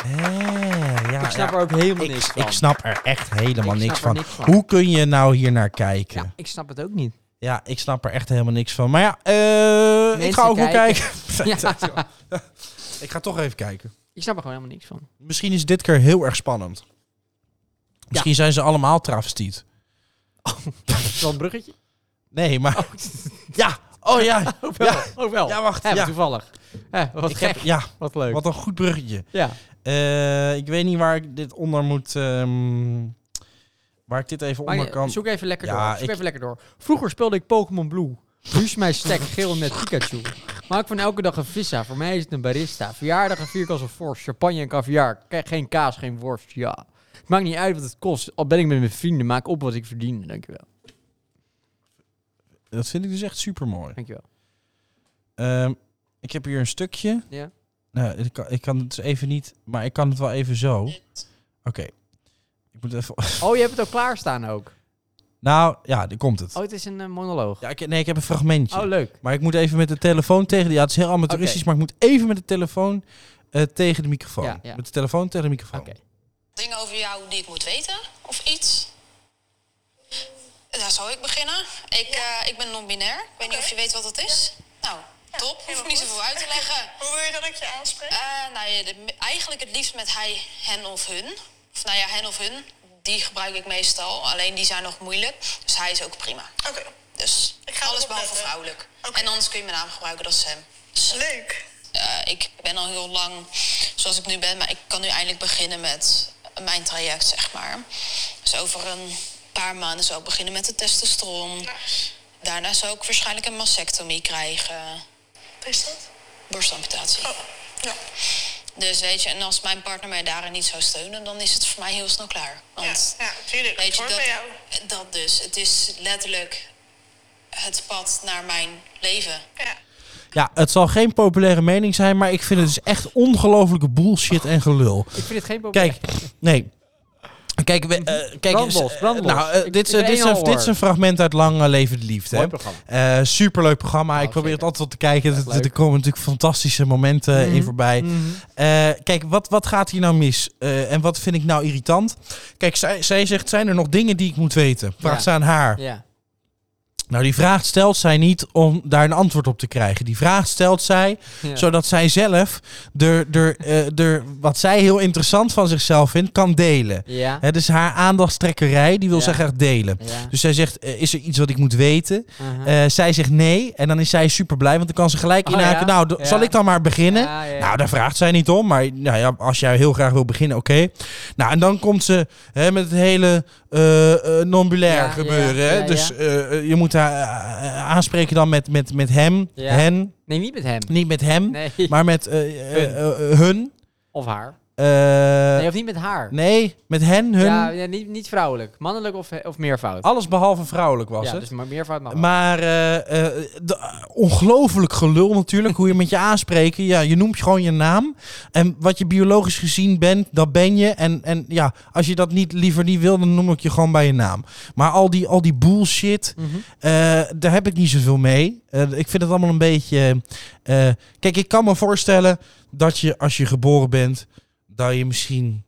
S1: Eh, Ja,
S2: Ik snap er ook helemaal
S1: ik,
S2: niks van.
S1: ik snap er echt helemaal
S2: Ik
S1: niks van.
S2: snap er niks van.
S1: Hoe kun je nou hier naar kijken?
S2: Ja,
S1: Ja.
S2: ik snap het ook niet.
S1: ik snap er echt helemaal niks van. Maar ja, eh, ik
S2: Mensen
S1: ga ook wel
S2: kijken.
S1: kijken.
S2: Ja.
S1: ik ga toch even kijken.
S2: Ik snap er gewoon helemaal niks van.
S1: Misschien is dit keer heel erg spannend. Misschien zijn ze allemaal travestiet.
S2: Is wel een bruggetje?
S1: Nee, maar... Ja, oh ja.
S2: Oh wel.
S1: Ja.
S2: Oh wel.
S1: Ja, wacht.
S2: Hè, wat
S1: Ja.
S2: toevallig. Hè, wat
S1: Ik
S2: gek.
S1: heb, ja,
S2: Wat leuk.
S1: wat een goed bruggetje.
S2: Ja.
S1: Eh, ik weet niet waar ik dit onder moet... ehm, waar ik dit even
S2: Maar
S1: onder kan...
S2: zoek even lekker
S1: Ja,
S2: door. Zoek
S1: ik-
S2: even lekker door. Vroeger speelde ik Pokémon Blue. Nu is mijn stek geel met Pikachu. Maak van elke dag een vissa. Voor mij is het een barista. Verjaardag een vierkant een fors. Champagne en caviar. Ke- Geen kaas, geen worst. Ja. Maakt niet uit wat het kost. Al ben ik met mijn vrienden. Maak op wat ik verdien. Dankjewel.
S1: Dat vind ik dus echt super mooi.
S2: Dankjewel.
S1: Ehm, ik heb hier een stukje.
S2: Ja.
S1: Nou, ik kan, ik kan het dus even niet, maar ik kan het wel even zo. Oké. Ik moet even.
S2: Oh, je hebt het ook klaarstaan ook.
S1: Nou, ja, daar komt het.
S2: Oh, het is een eh, monoloog.
S1: Ja, ik, nee, ik heb een fragmentje.
S2: Oh, leuk.
S1: Maar ik moet even met de telefoon tegen. de- Ja, het is heel amateuristisch,
S2: Oké.
S1: maar ik moet even met de telefoon eh, tegen de microfoon.
S2: Ja, ja.
S1: Met de telefoon tegen de microfoon.
S2: Oké.
S6: dingen over jou die ik moet weten of iets? Daar zou ik beginnen. Ik, eh, ik ben non-binair. Ik weet niet of je weet wat dat is. Nou, top. Hoef ik niet zoveel uit te leggen.
S7: Hoe wil je dat ik je aanspreek?
S6: Eh, nou ja, de- eigenlijk het liefst met hij, hen of hun. Of nou ja, hen of hun. Die gebruik ik meestal. Alleen die zijn nog moeilijk. Dus hij is ook prima.
S7: Oké,
S6: Dus
S7: Oh, Ik ga
S6: alles
S7: erop
S6: behalve
S7: letten.
S6: vrouwelijk.
S7: Oké.
S6: En anders kun je mijn naam gebruiken, dat is hem. Dus,
S7: leuk.
S6: eh, ik ben al heel lang zoals ik nu ben, maar ik kan nu eindelijk beginnen met mijn traject, zeg maar. Dus over een paar maanden zou ik beginnen met de testosteron. Daarna zou ik waarschijnlijk een mastectomie krijgen,
S7: Wat is dat?
S6: borstamputatie.
S7: Oh, ja.
S6: Dus weet je, en als mijn partner mij daarin niet zou steunen, dan is het voor mij heel snel klaar.
S7: Ja,
S6: Want
S7: ja, tuurlijk.
S6: Weet
S7: Het
S6: je,
S7: hoort bij jou.
S6: dat, dat dus. Het is letterlijk het pad naar mijn leven.
S7: Ja.
S1: Ja, het zal geen populaire mening zijn, maar ik vind het dus echt ongelofelijke bullshit en gelul.
S2: Ik vind het geen probleem.
S1: Kijk, nee. Kijk, we, eh, kijk
S2: Brand
S1: eens,
S2: los,
S1: eh,
S2: brand los.
S1: Nou, eh,
S2: Ik-
S1: dit, is-
S2: ik ben
S1: dit, is
S2: één
S1: een,
S2: al
S1: dit is een fragment uit Lang eh, Leven de Liefde.
S2: Mooi
S1: hè.
S2: programma. Nou,
S1: Eh, superleuk programma. ik probeer
S2: zeker.
S1: het altijd wel te kijken. Er-
S2: leuk.
S1: Er komen natuurlijk fantastische momenten in voorbij.
S2: Mhm.
S1: Eh, kijk, wat, wat gaat hier nou mis? Eh, en wat vind ik nou irritant? Kijk, zij, zij zegt, zijn er nog dingen die ik moet weten? Vraagt
S2: Ja.
S1: ze aan haar.
S2: Ja.
S1: Nou, die vraag stelt zij niet om daar een antwoord op te krijgen. Die vraag stelt zij
S2: Ja.
S1: zodat zij zelf de, de, eh, de, wat zij heel interessant van zichzelf vindt, kan delen.
S2: Ja.
S1: Hè, dus haar aandachtstrekkerij, die wil
S2: Ja.
S1: zij graag delen.
S2: Ja.
S1: Dus zij zegt, eh, is er iets wat ik moet weten?
S2: Aha.
S1: Eh, zij zegt nee. En dan is zij super blij, want dan kan ze gelijk
S2: Oh,
S1: inhaken.
S2: ja?
S1: Nou, d-
S2: Ja.
S1: zal ik dan maar beginnen?
S2: Ja, ja, ja.
S1: Nou, daar vraagt zij niet om. Maar nou ja, als jij heel graag wil beginnen, oké. Nou, en dan komt ze hè, met het hele eh eh, non-bulair
S2: Ja, ja,
S1: gebeuren.
S2: ja,
S1: hè.
S2: ja.
S1: Dus eh, eh, je moet haar eh, eh, aanspreken dan met, met, met hem,
S2: Ja.
S1: hen.
S2: Nee, niet met hem.
S1: Niet met hem,
S2: Nee.
S1: maar met eh, eh, eh, hun.
S2: Of haar.
S1: Eh,
S2: Nee,
S1: nee,
S2: of niet met haar.
S1: met hen, hun.
S2: Ja, ja, niet, niet vrouwelijk. Mannelijk of, of meervoud.
S1: Alles behalve vrouwelijk was
S2: ja,
S1: het.
S2: dus maar meervoud mag wel.
S1: Maar eh, eh, de- ongelooflijk gelul natuurlijk, hoe je met je aanspreken. Ja, je noemt gewoon je naam. En wat je biologisch gezien bent, dat ben je. En, en ja, als je dat niet liever niet wil, dan noem ik je gewoon bij je naam. Maar al die, al die bullshit,
S2: Mhm.
S1: eh, daar heb ik niet zoveel mee. Eh, ik vind het allemaal een beetje... eh, kijk, ik kan me voorstellen dat je als je geboren bent, dat je misschien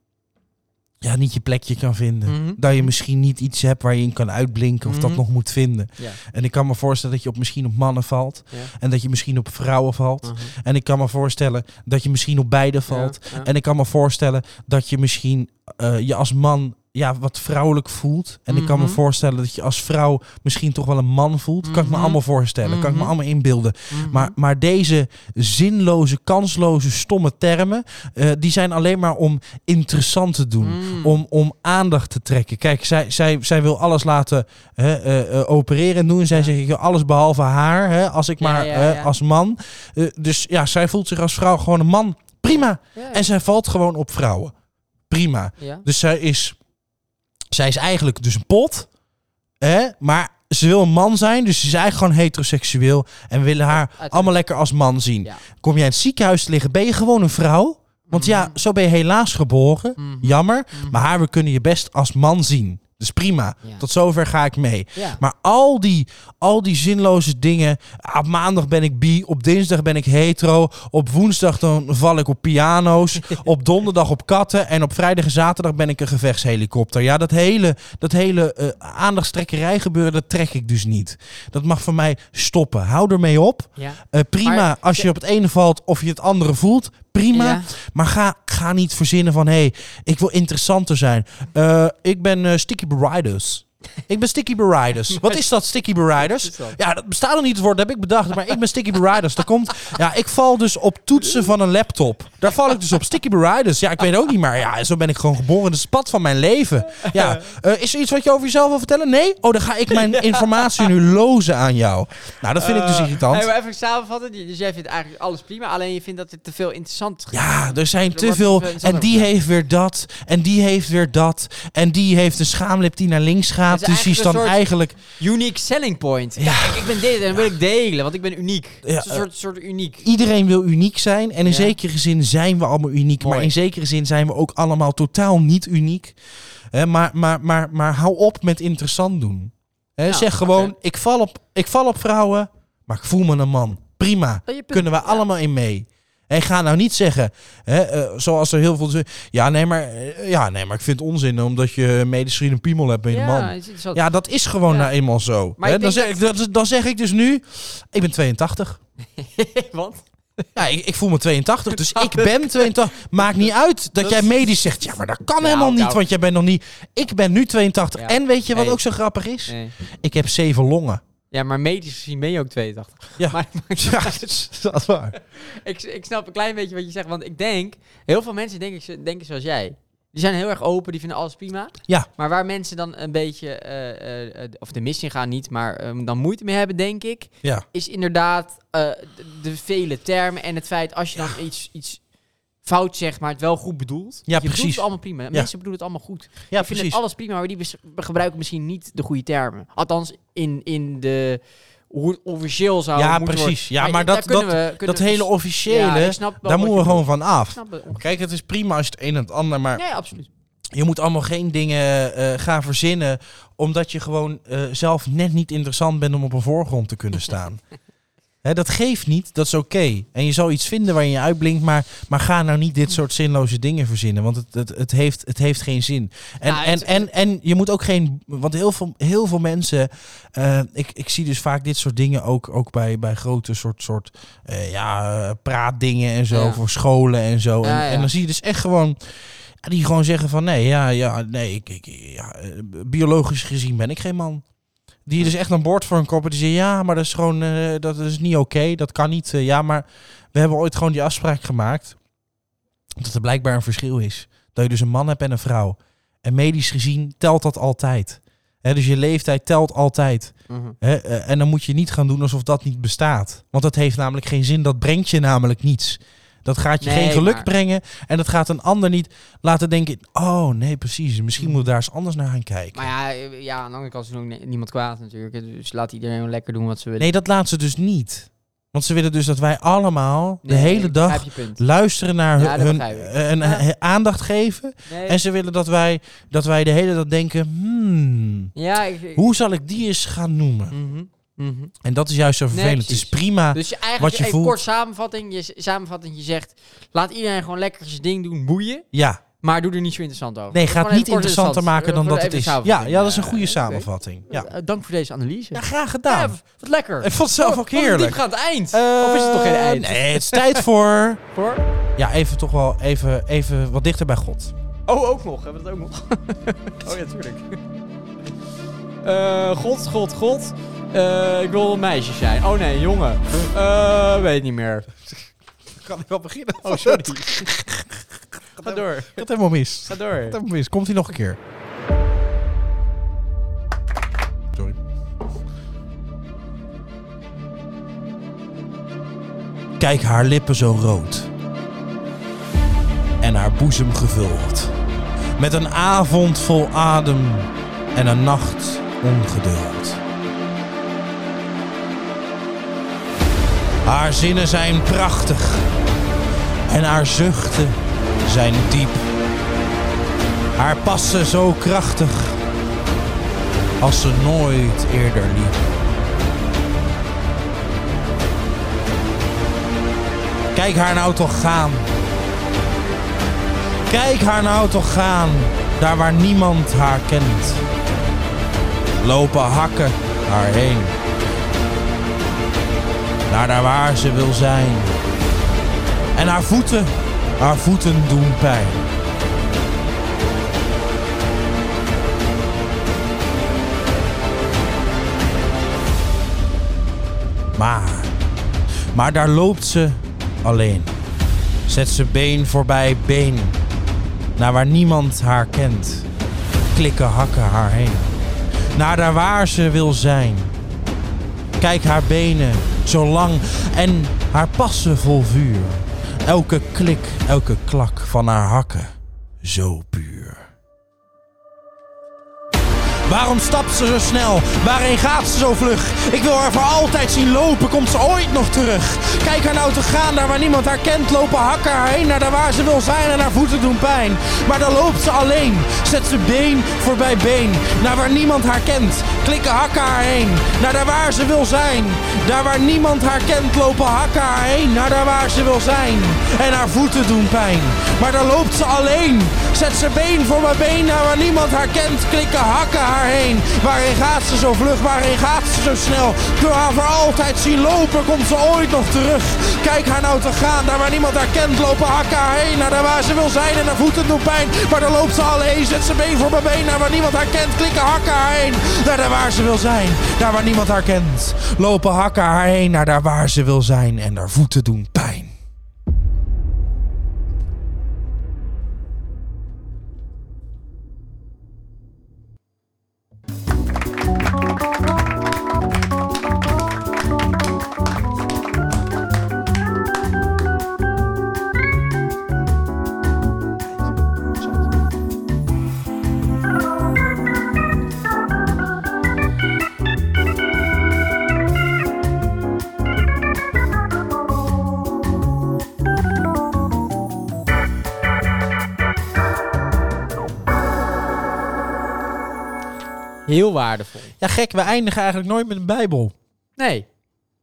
S1: ja, niet je plekje kan vinden.
S2: Mhm.
S1: Dat je misschien niet iets hebt waar je in kan uitblinken of
S2: Mhm.
S1: dat nog moet vinden.
S2: Ja.
S1: En ik kan me voorstellen dat je op, misschien op mannen valt.
S2: Ja.
S1: En dat je misschien op vrouwen valt. En ik kan me voorstellen dat je misschien op beide valt.
S2: Mhm. Ja, ja.
S1: En ik kan me voorstellen dat je misschien eh, je als man ja, wat vrouwelijk voelt. En ik kan me
S2: Mhm.
S1: voorstellen dat je als vrouw misschien toch wel een man voelt. Kan ik me
S2: Mhm.
S1: allemaal voorstellen. Kan ik me
S2: Mhm.
S1: allemaal inbeelden. Maar, maar deze zinloze, kansloze, stomme termen... eh, die zijn alleen maar om interessant te doen.
S2: Mm.
S1: Om, om aandacht te trekken. Kijk, zij, zij, zij wil alles laten hè, eh, eh, opereren en doen. En zij zegt, ik wil alles behalve haar. Hè, als ik
S2: Ja,
S1: maar
S2: ja,
S1: hè,
S2: ja.
S1: als man. Eh, dus ja, zij voelt zich als vrouw gewoon een man. Prima.
S2: Ja.
S1: En zij valt gewoon op vrouwen. Prima.
S2: Ja.
S1: Dus zij is, zij is eigenlijk dus een pot. Hè? Maar ze wil een man zijn, dus ze is eigenlijk gewoon heteroseksueel. En we willen haar
S2: uiteraard.
S1: allemaal lekker als man zien.
S2: Ja.
S1: Kom jij in het ziekenhuis te liggen, ben je gewoon een vrouw? Want ja,
S2: Mhm.
S1: zo ben je helaas geboren. Jammer. Maar haar, we kunnen je best als man zien. Dus prima.
S2: Ja.
S1: Tot zover ga ik mee.
S2: Ja.
S1: Maar al die, al die zinloze dingen. ah, Op maandag ben ik bi, op dinsdag ben ik hetero. Op woensdag dan val ik op piano's. op donderdag op katten. En op vrijdag en zaterdag ben ik een gevechtshelikopter. Ja, dat hele, dat hele eh, aandachtstrekkerij gebeuren, dat trek ik dus niet. Dat mag van mij stoppen. Hou ermee op.
S2: Ja.
S1: Eh, prima
S2: Maar-
S1: als je op het ene valt of je het andere voelt. Prima.
S2: Ja.
S1: Maar ga, ga niet verzinnen van... hé, hey, ik wil interessanter zijn. Eh, ik ben eh, Sticky Bariders. Ik ben Sticky Bariders. Wat is dat, Sticky Bariders?
S2: Wat is dat?
S1: Ja, dat bestaat nog niet, het woord dat heb ik bedacht. Maar ik ben Sticky Bariders. Dat komt... Ja, ik val dus op toetsen van een laptop. Daar val ik dus op. Sticky Bariders. Ja, ik weet ook niet, maar ja, zo ben ik gewoon geboren. Dat is het pad van mijn leven. Ja. eh, is er iets wat je over jezelf wil vertellen? Nee? Oh, dan ga ik mijn informatie nu lozen aan jou. Nou, dat vind ik dus
S2: Eh,
S1: irritant.
S2: hey, maar even samenvatten. Dus jij vindt eigenlijk alles prima. Alleen je vindt dat het te veel interessant is.
S1: Ja, er zijn
S2: Er
S1: te
S2: wordt
S1: veel.
S2: te veel
S1: En die
S2: zand
S1: heeft weer dat. En die heeft weer dat. En die heeft een schaamlip die naar links gaat.
S2: Het is
S1: Dus die is dan
S2: eigenlijk een
S1: eigenlijk.
S2: Unique selling point. Kijk, ik ben dit en dat wil ik delen, want ik ben uniek.
S1: Ja,
S2: Het is een soort, soort uniek.
S1: Iedereen wil uniek zijn. En in
S2: Ja.
S1: zekere zin zijn we allemaal uniek.
S2: Mooi.
S1: Maar in zekere zin zijn we ook allemaal totaal niet uniek. Hè, maar, maar, maar, maar hou op met interessant doen. Hè,
S2: Ja,
S1: zeg gewoon:
S2: oké.
S1: ik, val op, ik val op vrouwen, maar ik voel me een man. Prima.
S2: Dat Oh, je punt-
S1: Kunnen we allemaal in mee. En ga nou niet zeggen, hè, eh, zoals er heel veel zeggen, ja nee, maar, eh, ja, nee, maar ik vind het onzin omdat je medisch gezien een piemel hebt, ben je een
S2: ja,
S1: man.
S2: is iets wat-
S1: Ja, dat is gewoon
S2: Ja.
S1: nou eenmaal zo.
S2: Maar
S1: Hè,
S2: ik
S1: dan,
S2: denk
S1: zeg, ik- dat... dan zeg ik dus nu, ik ben 82.
S2: Want?
S1: Ja, ik, ik voel me 82, dus ik ben 82. Maakt niet uit dat jij medisch zegt, ja, maar dat kan helemaal niet,
S2: nou.
S1: want jij bent nog niet... Ik ben nu 82.
S2: Ja.
S1: En weet je wat
S2: Hey.
S1: ook zo grappig is?
S2: Nee.
S1: Ik heb zeven longen.
S2: Ja, maar medisch gezien ben je ook 82.
S1: Ja.
S2: Maar, maar-
S1: Ja, dat is- dat is waar.
S2: ik, ik snap een klein beetje wat je zegt, want ik denk, heel veel mensen denk ik, denken zoals jij. Die zijn heel erg open, die vinden alles prima.
S1: Ja.
S2: Maar waar mensen dan een beetje, eh, eh, eh, of de mis in gaan niet, maar eh, dan moeite mee hebben, denk ik,
S1: Ja.
S2: is inderdaad eh, de, de vele termen en het feit als je dan iets, iets fout zegt, maar het wel goed bedoelt. je bedoelt
S1: precies.
S2: het allemaal prima. Mensen bedoelen het allemaal goed.
S1: Ja,
S2: ik vind het
S1: precies.
S2: alles prima, maar die bes- gebruiken misschien niet de goede termen. Althans, in, in de hoe het officieel zou
S1: Ja,
S2: moeten
S1: precies.
S2: worden.
S1: Ja, maar dat,
S2: daar
S1: dat,
S2: kunnen we- kunnen
S1: dat
S2: we- dus-
S1: hele officiële,
S2: Ja, ik snap wel
S1: daar
S2: wat
S1: moeten
S2: je
S1: we gewoon van af.
S2: snap het.
S1: Kijk, het is prima als je het een en het ander, maar
S2: Nee, absoluut.
S1: je moet allemaal geen dingen eh, gaan verzinnen, omdat je gewoon eh, zelf net niet interessant bent om op een voorgrond te kunnen staan. Hè, dat geeft niet, dat is oké. En je zal iets vinden waarin je uitblinkt, maar, maar ga nou niet dit soort zinloze dingen verzinnen, want het, het, het, heeft, het heeft geen zin. En,
S2: Nou,
S1: en,
S2: het-
S1: en, en je moet ook geen, want heel veel, heel veel mensen, eh, ik, ik zie dus vaak dit soort dingen ook, ook bij, bij grote soort, soort eh, ja, eh, praatdingen en zo,
S2: Ja.
S1: voor scholen en zo.
S2: Ja,
S1: en,
S2: ja.
S1: en dan zie je dus echt gewoon ja, die gewoon zeggen van nee, ja, ja, nee, ik, ik, ja, eh, biologisch gezien ben ik geen man. Die je dus echt aan boord voor een koppen. Die zeggen ja, maar dat is gewoon, eh, dat is niet oké, dat kan niet. eh, ja, maar we hebben ooit gewoon die afspraak gemaakt dat er blijkbaar een verschil is. Dat je dus een man hebt en een vrouw. En medisch gezien telt dat altijd. Hè, dus je leeftijd telt altijd.
S2: Mhm.
S1: Hè, eh, en dan moet je niet gaan doen alsof dat niet bestaat. Want dat heeft namelijk geen zin. Dat brengt je namelijk niets. Dat gaat je
S2: Nee,
S1: geen geluk
S2: maar-
S1: brengen. En dat gaat een ander niet laten denken... Oh, nee, precies. Misschien moeten we daar eens anders naar gaan kijken.
S2: Mhm. Maar ja, eh, ja, aan de andere kant is er ook ni- niemand kwaad natuurlijk. Dus laat iedereen wel lekker doen wat ze willen.
S1: Nee, dat laat ze dus niet. Want ze willen dus dat wij allemaal de hele dag...
S2: Heb je punt.
S1: Luisteren naar
S2: Ja,
S1: hun,
S2: dat
S1: hun-
S2: begrijp ik.
S1: en
S2: Ja.
S1: eh, aandacht geven.
S2: Nee.
S1: En ze willen dat wij, dat wij de hele dag denken: hmm,
S2: Ja, ik- ik-
S1: hoe zal ik die eens gaan noemen?
S2: Mhm, mhm.
S1: En dat is juist zo vervelend. het is
S2: precies.
S1: prima.
S2: Dus je eigenlijk
S1: Ah, Wat je
S2: even
S1: voelt.
S2: kort samenvatting. Je, s- samenvatting, je zegt, laat iedereen gewoon lekker zijn ding doen, boeien.
S1: ja,
S2: Maar doe er niet zo interessant over.
S1: Nee,
S2: Gewoon
S1: gaat
S2: even
S1: niet
S2: kort
S1: interessanter
S2: interessant.
S1: maken dan
S2: Gewoon
S1: dat het
S2: even
S1: is. Ja,
S2: samenvatting.
S1: ja, dat is een goede
S2: oké.
S1: samenvatting. Ja.
S2: Eh, Dank voor deze analyse.
S1: ja, graag
S2: Ja, Oh,
S1: gedaan.
S2: wat lekker.
S1: Ik vond het zelf ook
S2: Wat een
S1: heerlijk.
S2: diepgaand eind. of is het toch geen
S1: Eh,
S2: eind?
S1: Nee, het is tijd voor...
S2: Hoor.
S1: Ja, even toch wel even, even wat dichter bij God.
S2: Oh, ook nog. Hebben we dat ook nog? oh ja, tuurlijk. Eh, god, god, god. Eh, ik wil een meisje zijn. Oh nee, jongen. Eh, weet niet meer.
S1: Kan ik wel beginnen?
S2: Oh, sorry. Ga door.
S1: Dat helemaal mis.
S2: Ga door.
S1: Dat helemaal mis. Komt hij nog een keer? Sorry. Kijk haar lippen zo rood. En haar boezem gevuld. Met een avond vol adem en een nacht ongeduld. Haar zinnen zijn prachtig. En haar zuchten zijn diep. Haar passen zo krachtig als ze nooit eerder liep. Kijk haar nou toch gaan. Kijk haar nou toch gaan, daar waar niemand haar kent. Lopen hakken haar heen. Naar daar waar ze wil zijn. En haar voeten, haar voeten doen pijn. Maar, maar daar loopt ze alleen. Zet ze been voorbij been. Naar waar niemand haar kent. Klikken hakken haar heen. Naar daar waar ze wil zijn. Kijk haar benen, zo lang en haar passen vol vuur. Elke klik, elke klak van haar hakken, zo puur. Waarom stapt ze zo snel? Waarheen gaat ze zo vlug? Ik wil haar voor altijd zien lopen. Komt ze ooit nog terug? Kijk haar nou te gaan, daar waar niemand haar kent. Lopen hakken haar heen, naar daar waar ze wil zijn. En haar voeten doen pijn. Maar dan loopt ze alleen. Zet ze been voorbij been. Naar waar niemand haar kent. Klikken hakken haar heen. Naar daar waar ze wil zijn. Daar waar niemand haar kent. Lopen hakken haar heen. Naar daar waar ze wil zijn. En haar voeten doen pijn. Maar dan loopt ze alleen. Zet ze been voor mijn been naar waar niemand haar kent. Klikken hakken haar heen. Waarin gaat ze zo vlug? Waarin gaat ze zo snel? Ik wil haar voor altijd zien lopen. Komt ze ooit nog terug? Kijk haar nou te gaan. Daar waar niemand haar kent. Lopen hakken haar heen. Naar daar waar ze wil zijn. En haar voeten doen pijn. Maar dan loopt ze alleen. Zet ze been voor mijn been naar waar niemand haar kent. Klikken hakken haar heen. Naar daar waar ze wil zijn. Daar waar niemand haar kent. Lopen hakken haar heen. Naar daar waar ze wil zijn. En haar voeten doen pijn.
S2: Heel waardevol.
S1: Ja, gek. We eindigen eigenlijk nooit met een Bijbel.
S2: Nee.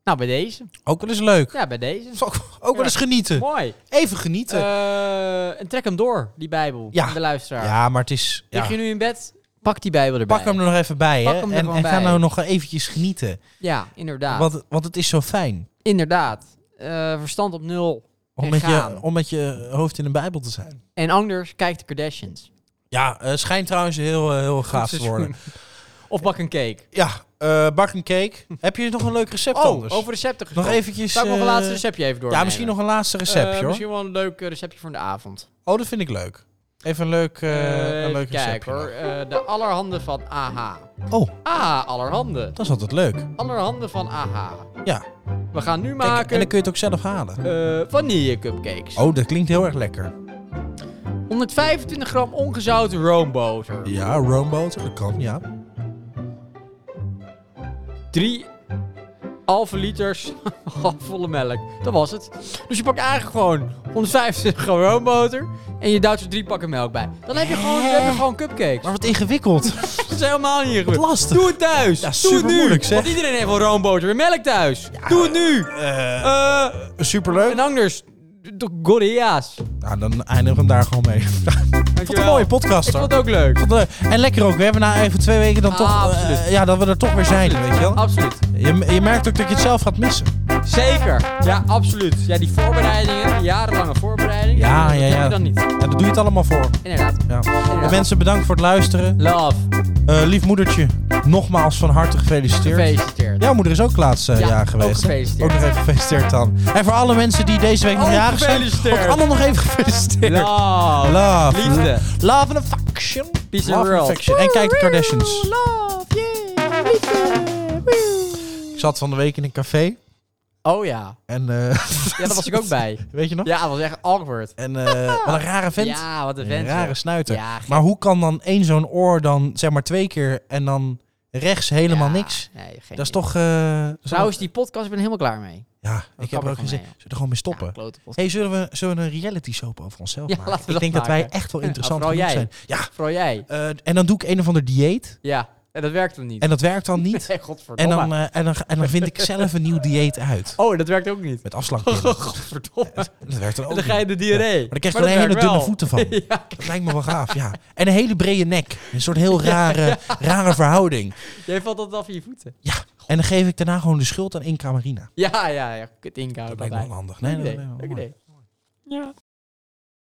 S2: Nou, bij deze.
S1: Ook wel eens leuk.
S2: Ja, bij deze.
S1: Dus ook, ook wel eens genieten.
S2: Mooi.
S1: Even genieten.
S2: Eh, en trek hem door, die Bijbel.
S1: Ja.
S2: De luisteraar.
S1: ja, maar het is. Ja.
S2: Lig je nu in bed? Pak die Bijbel erbij.
S1: Pak hem er nog even bij.
S2: Pak
S1: Hè?
S2: hem er
S1: En,
S2: gewoon
S1: en ga
S2: bij.
S1: nou nog eventjes genieten.
S2: Ja, inderdaad.
S1: Want, want het is zo fijn
S2: Inderdaad. Eh, verstand op nul.
S1: om
S2: En
S1: met, je,
S2: gaan.
S1: om met je hoofd in een Bijbel te zijn.
S2: En anders, kijk de Kardashians.
S1: Ja, eh, schijnt trouwens heel, eh, heel gaaf te
S2: seizoen.
S1: worden.
S2: Of bak een cake.
S1: Ja, eh, bak een cake. Heb je nog een leuk recept
S2: Oh,
S1: anders?
S2: over recepten
S1: nog
S2: gesproken.
S1: eventjes...
S2: Zou ik nog een
S1: eh,
S2: laatste receptje even door.
S1: Ja, misschien nog een laatste receptje hoor.
S2: Eh, Misschien wel een leuk eh, receptje voor de avond.
S1: Oh, dat vind ik leuk. Even een leuk, eh,
S2: Eh,
S1: een leuk
S2: kijk
S1: receptje.
S2: hoor. Eh, de allerhande van AH.
S1: nog. Oh,
S2: Ah, allerhande.
S1: dat is altijd leuk.
S2: Allerhande van AH.
S1: Ja.
S2: We gaan nu
S1: Kijk, en
S2: maken
S1: dan kun je het ook zelf halen.
S2: eh, vanille cupcakes.
S1: Oh, dat klinkt heel erg lekker.
S2: 125 gram ongezouten roomboter.
S1: Ja, roomboter, dat kan, ja.
S2: 3 halve liters halfvolle melk. Dat was het. Dus je pakt eigenlijk gewoon 150 gram roomboter en je duwt er drie pakken melk bij. Dan heb je gewoon, dan heb je gewoon cupcakes.
S1: Maar wat ingewikkeld.
S2: Dat is helemaal niet ingewikkeld.
S1: lastig.
S2: Doe het thuis.
S1: Ja,
S2: Doe het nu.
S1: supermoeilijk, zeg.
S2: Want iedereen heeft wel roomboter en melk thuis. Doe het nu. Eh,
S1: Superleuk.
S2: en anders, de Gorillas.
S1: Nou, dan eindigen we hem daar gewoon mee.
S2: Oké.
S1: vond het
S2: Dankjewel.
S1: een mooie podcast.
S2: Ik
S1: hoor.
S2: vond het ook leuk.
S1: Vond het leuk. En lekker ook. We hebben na even twee weken dan
S2: Ah,
S1: toch... eh,
S2: absoluut.
S1: ja, dat we er toch weer zijn, weet je wel.
S2: Absoluut.
S1: Je, je merkt ook dat je het zelf gaat missen.
S2: Zeker. Ja, absoluut. Ja, die voorbereidingen, die jarenlange voorbereiding.
S1: Ja,
S2: dat
S1: ja,
S2: heb je
S1: ja.
S2: dan niet.
S1: En daar doe je het allemaal voor.
S2: Inderdaad.
S1: Ja.
S2: Inderdaad.
S1: Mensen, bedankt voor het luisteren.
S2: Love.
S1: Eh, lief moedertje, nogmaals van harte gefeliciteerd.
S2: Gefeliciteerd.
S1: Jouw moeder is ook laatst eh,
S2: Ja,
S1: jaar
S2: ook
S1: geweest. hè?
S2: gefeliciteerd.
S1: Ook nog even gefeliciteerd dan. En voor alle mensen die deze week nog
S2: Ook
S1: jarig zijn,
S2: gefeliciteerd.
S1: ook allemaal nog even gefeliciteerd.
S2: Love.
S1: Love.
S2: Liefde.
S1: Love and affection.
S2: Peace
S1: Love and
S2: and world.
S1: affection. En kijk de Kardashians.
S2: Love. Yeah. Liefde.
S1: Ik zat van de week in een café.
S2: Oh ja.
S1: En, eh,
S2: Ja, daar was ik ook bij.
S1: Weet je nog?
S2: Ja, dat was echt awkward.
S1: En eh, wat een rare vent.
S2: Ja, wat een
S1: een
S2: vent.
S1: rare
S2: joh.
S1: snuiter.
S2: Ja, gek.
S1: maar hoe kan dan één zo'n oor dan zeg maar twee keer en dan rechts helemaal
S2: Ja,
S1: niks?
S2: Nee, geen
S1: Dat is
S2: idee.
S1: toch... eh, dat is
S2: Trouwens, die podcast, ik ben er helemaal klaar mee.
S1: wel- Ja, ik heb
S2: kapper
S1: er ook
S2: van
S1: gezegd.
S2: mij, ja.
S1: Zullen we er gewoon mee stoppen?
S2: Ja, klote podcast.
S1: hey, zullen we, zullen we een reality soap over onszelf
S2: Ja,
S1: maken?
S2: laten we
S1: ik
S2: dat
S1: denk dat wij
S2: maken.
S1: echt wel
S2: Ja,
S1: interessant
S2: vooral
S1: genoeg
S2: jij.
S1: zijn. Ja,
S2: Vooral jij.
S1: eh, en dan doe ik een of ander dieet.
S2: Ja. En dat werkt dan niet.
S1: En dat werkt dan niet.
S2: Nee,
S1: En
S2: godverdomme.
S1: dan, eh, en, dan, en dan vind ik zelf een nieuw dieet uit.
S2: Oh, dat werkt ook niet.
S1: Met afslankpillen.
S2: Godverdomme.
S1: Dat werkt dan ook
S2: En dan ga je
S1: niet.
S2: de diarree.
S1: Maar dan krijg je wel
S2: dat
S1: hele
S2: werkt
S1: dunne
S2: wel.
S1: voeten van.
S2: ja,
S1: Dat lijkt me wel gaaf, ja. En een hele brede nek. Een soort heel rare, rare verhouding.
S2: jij valt altijd af in je voeten.
S1: Ja, en dan geef ik daarna gewoon de schuld aan Inca Marina.
S2: Ja, ja, ja. Kut inkouden.
S1: Dat lijkt me wel handig. Nee,
S2: Nee,
S1: nee,
S2: nee.
S1: nee, nee,
S2: Leuk
S1: mooi.
S2: idee. Ja.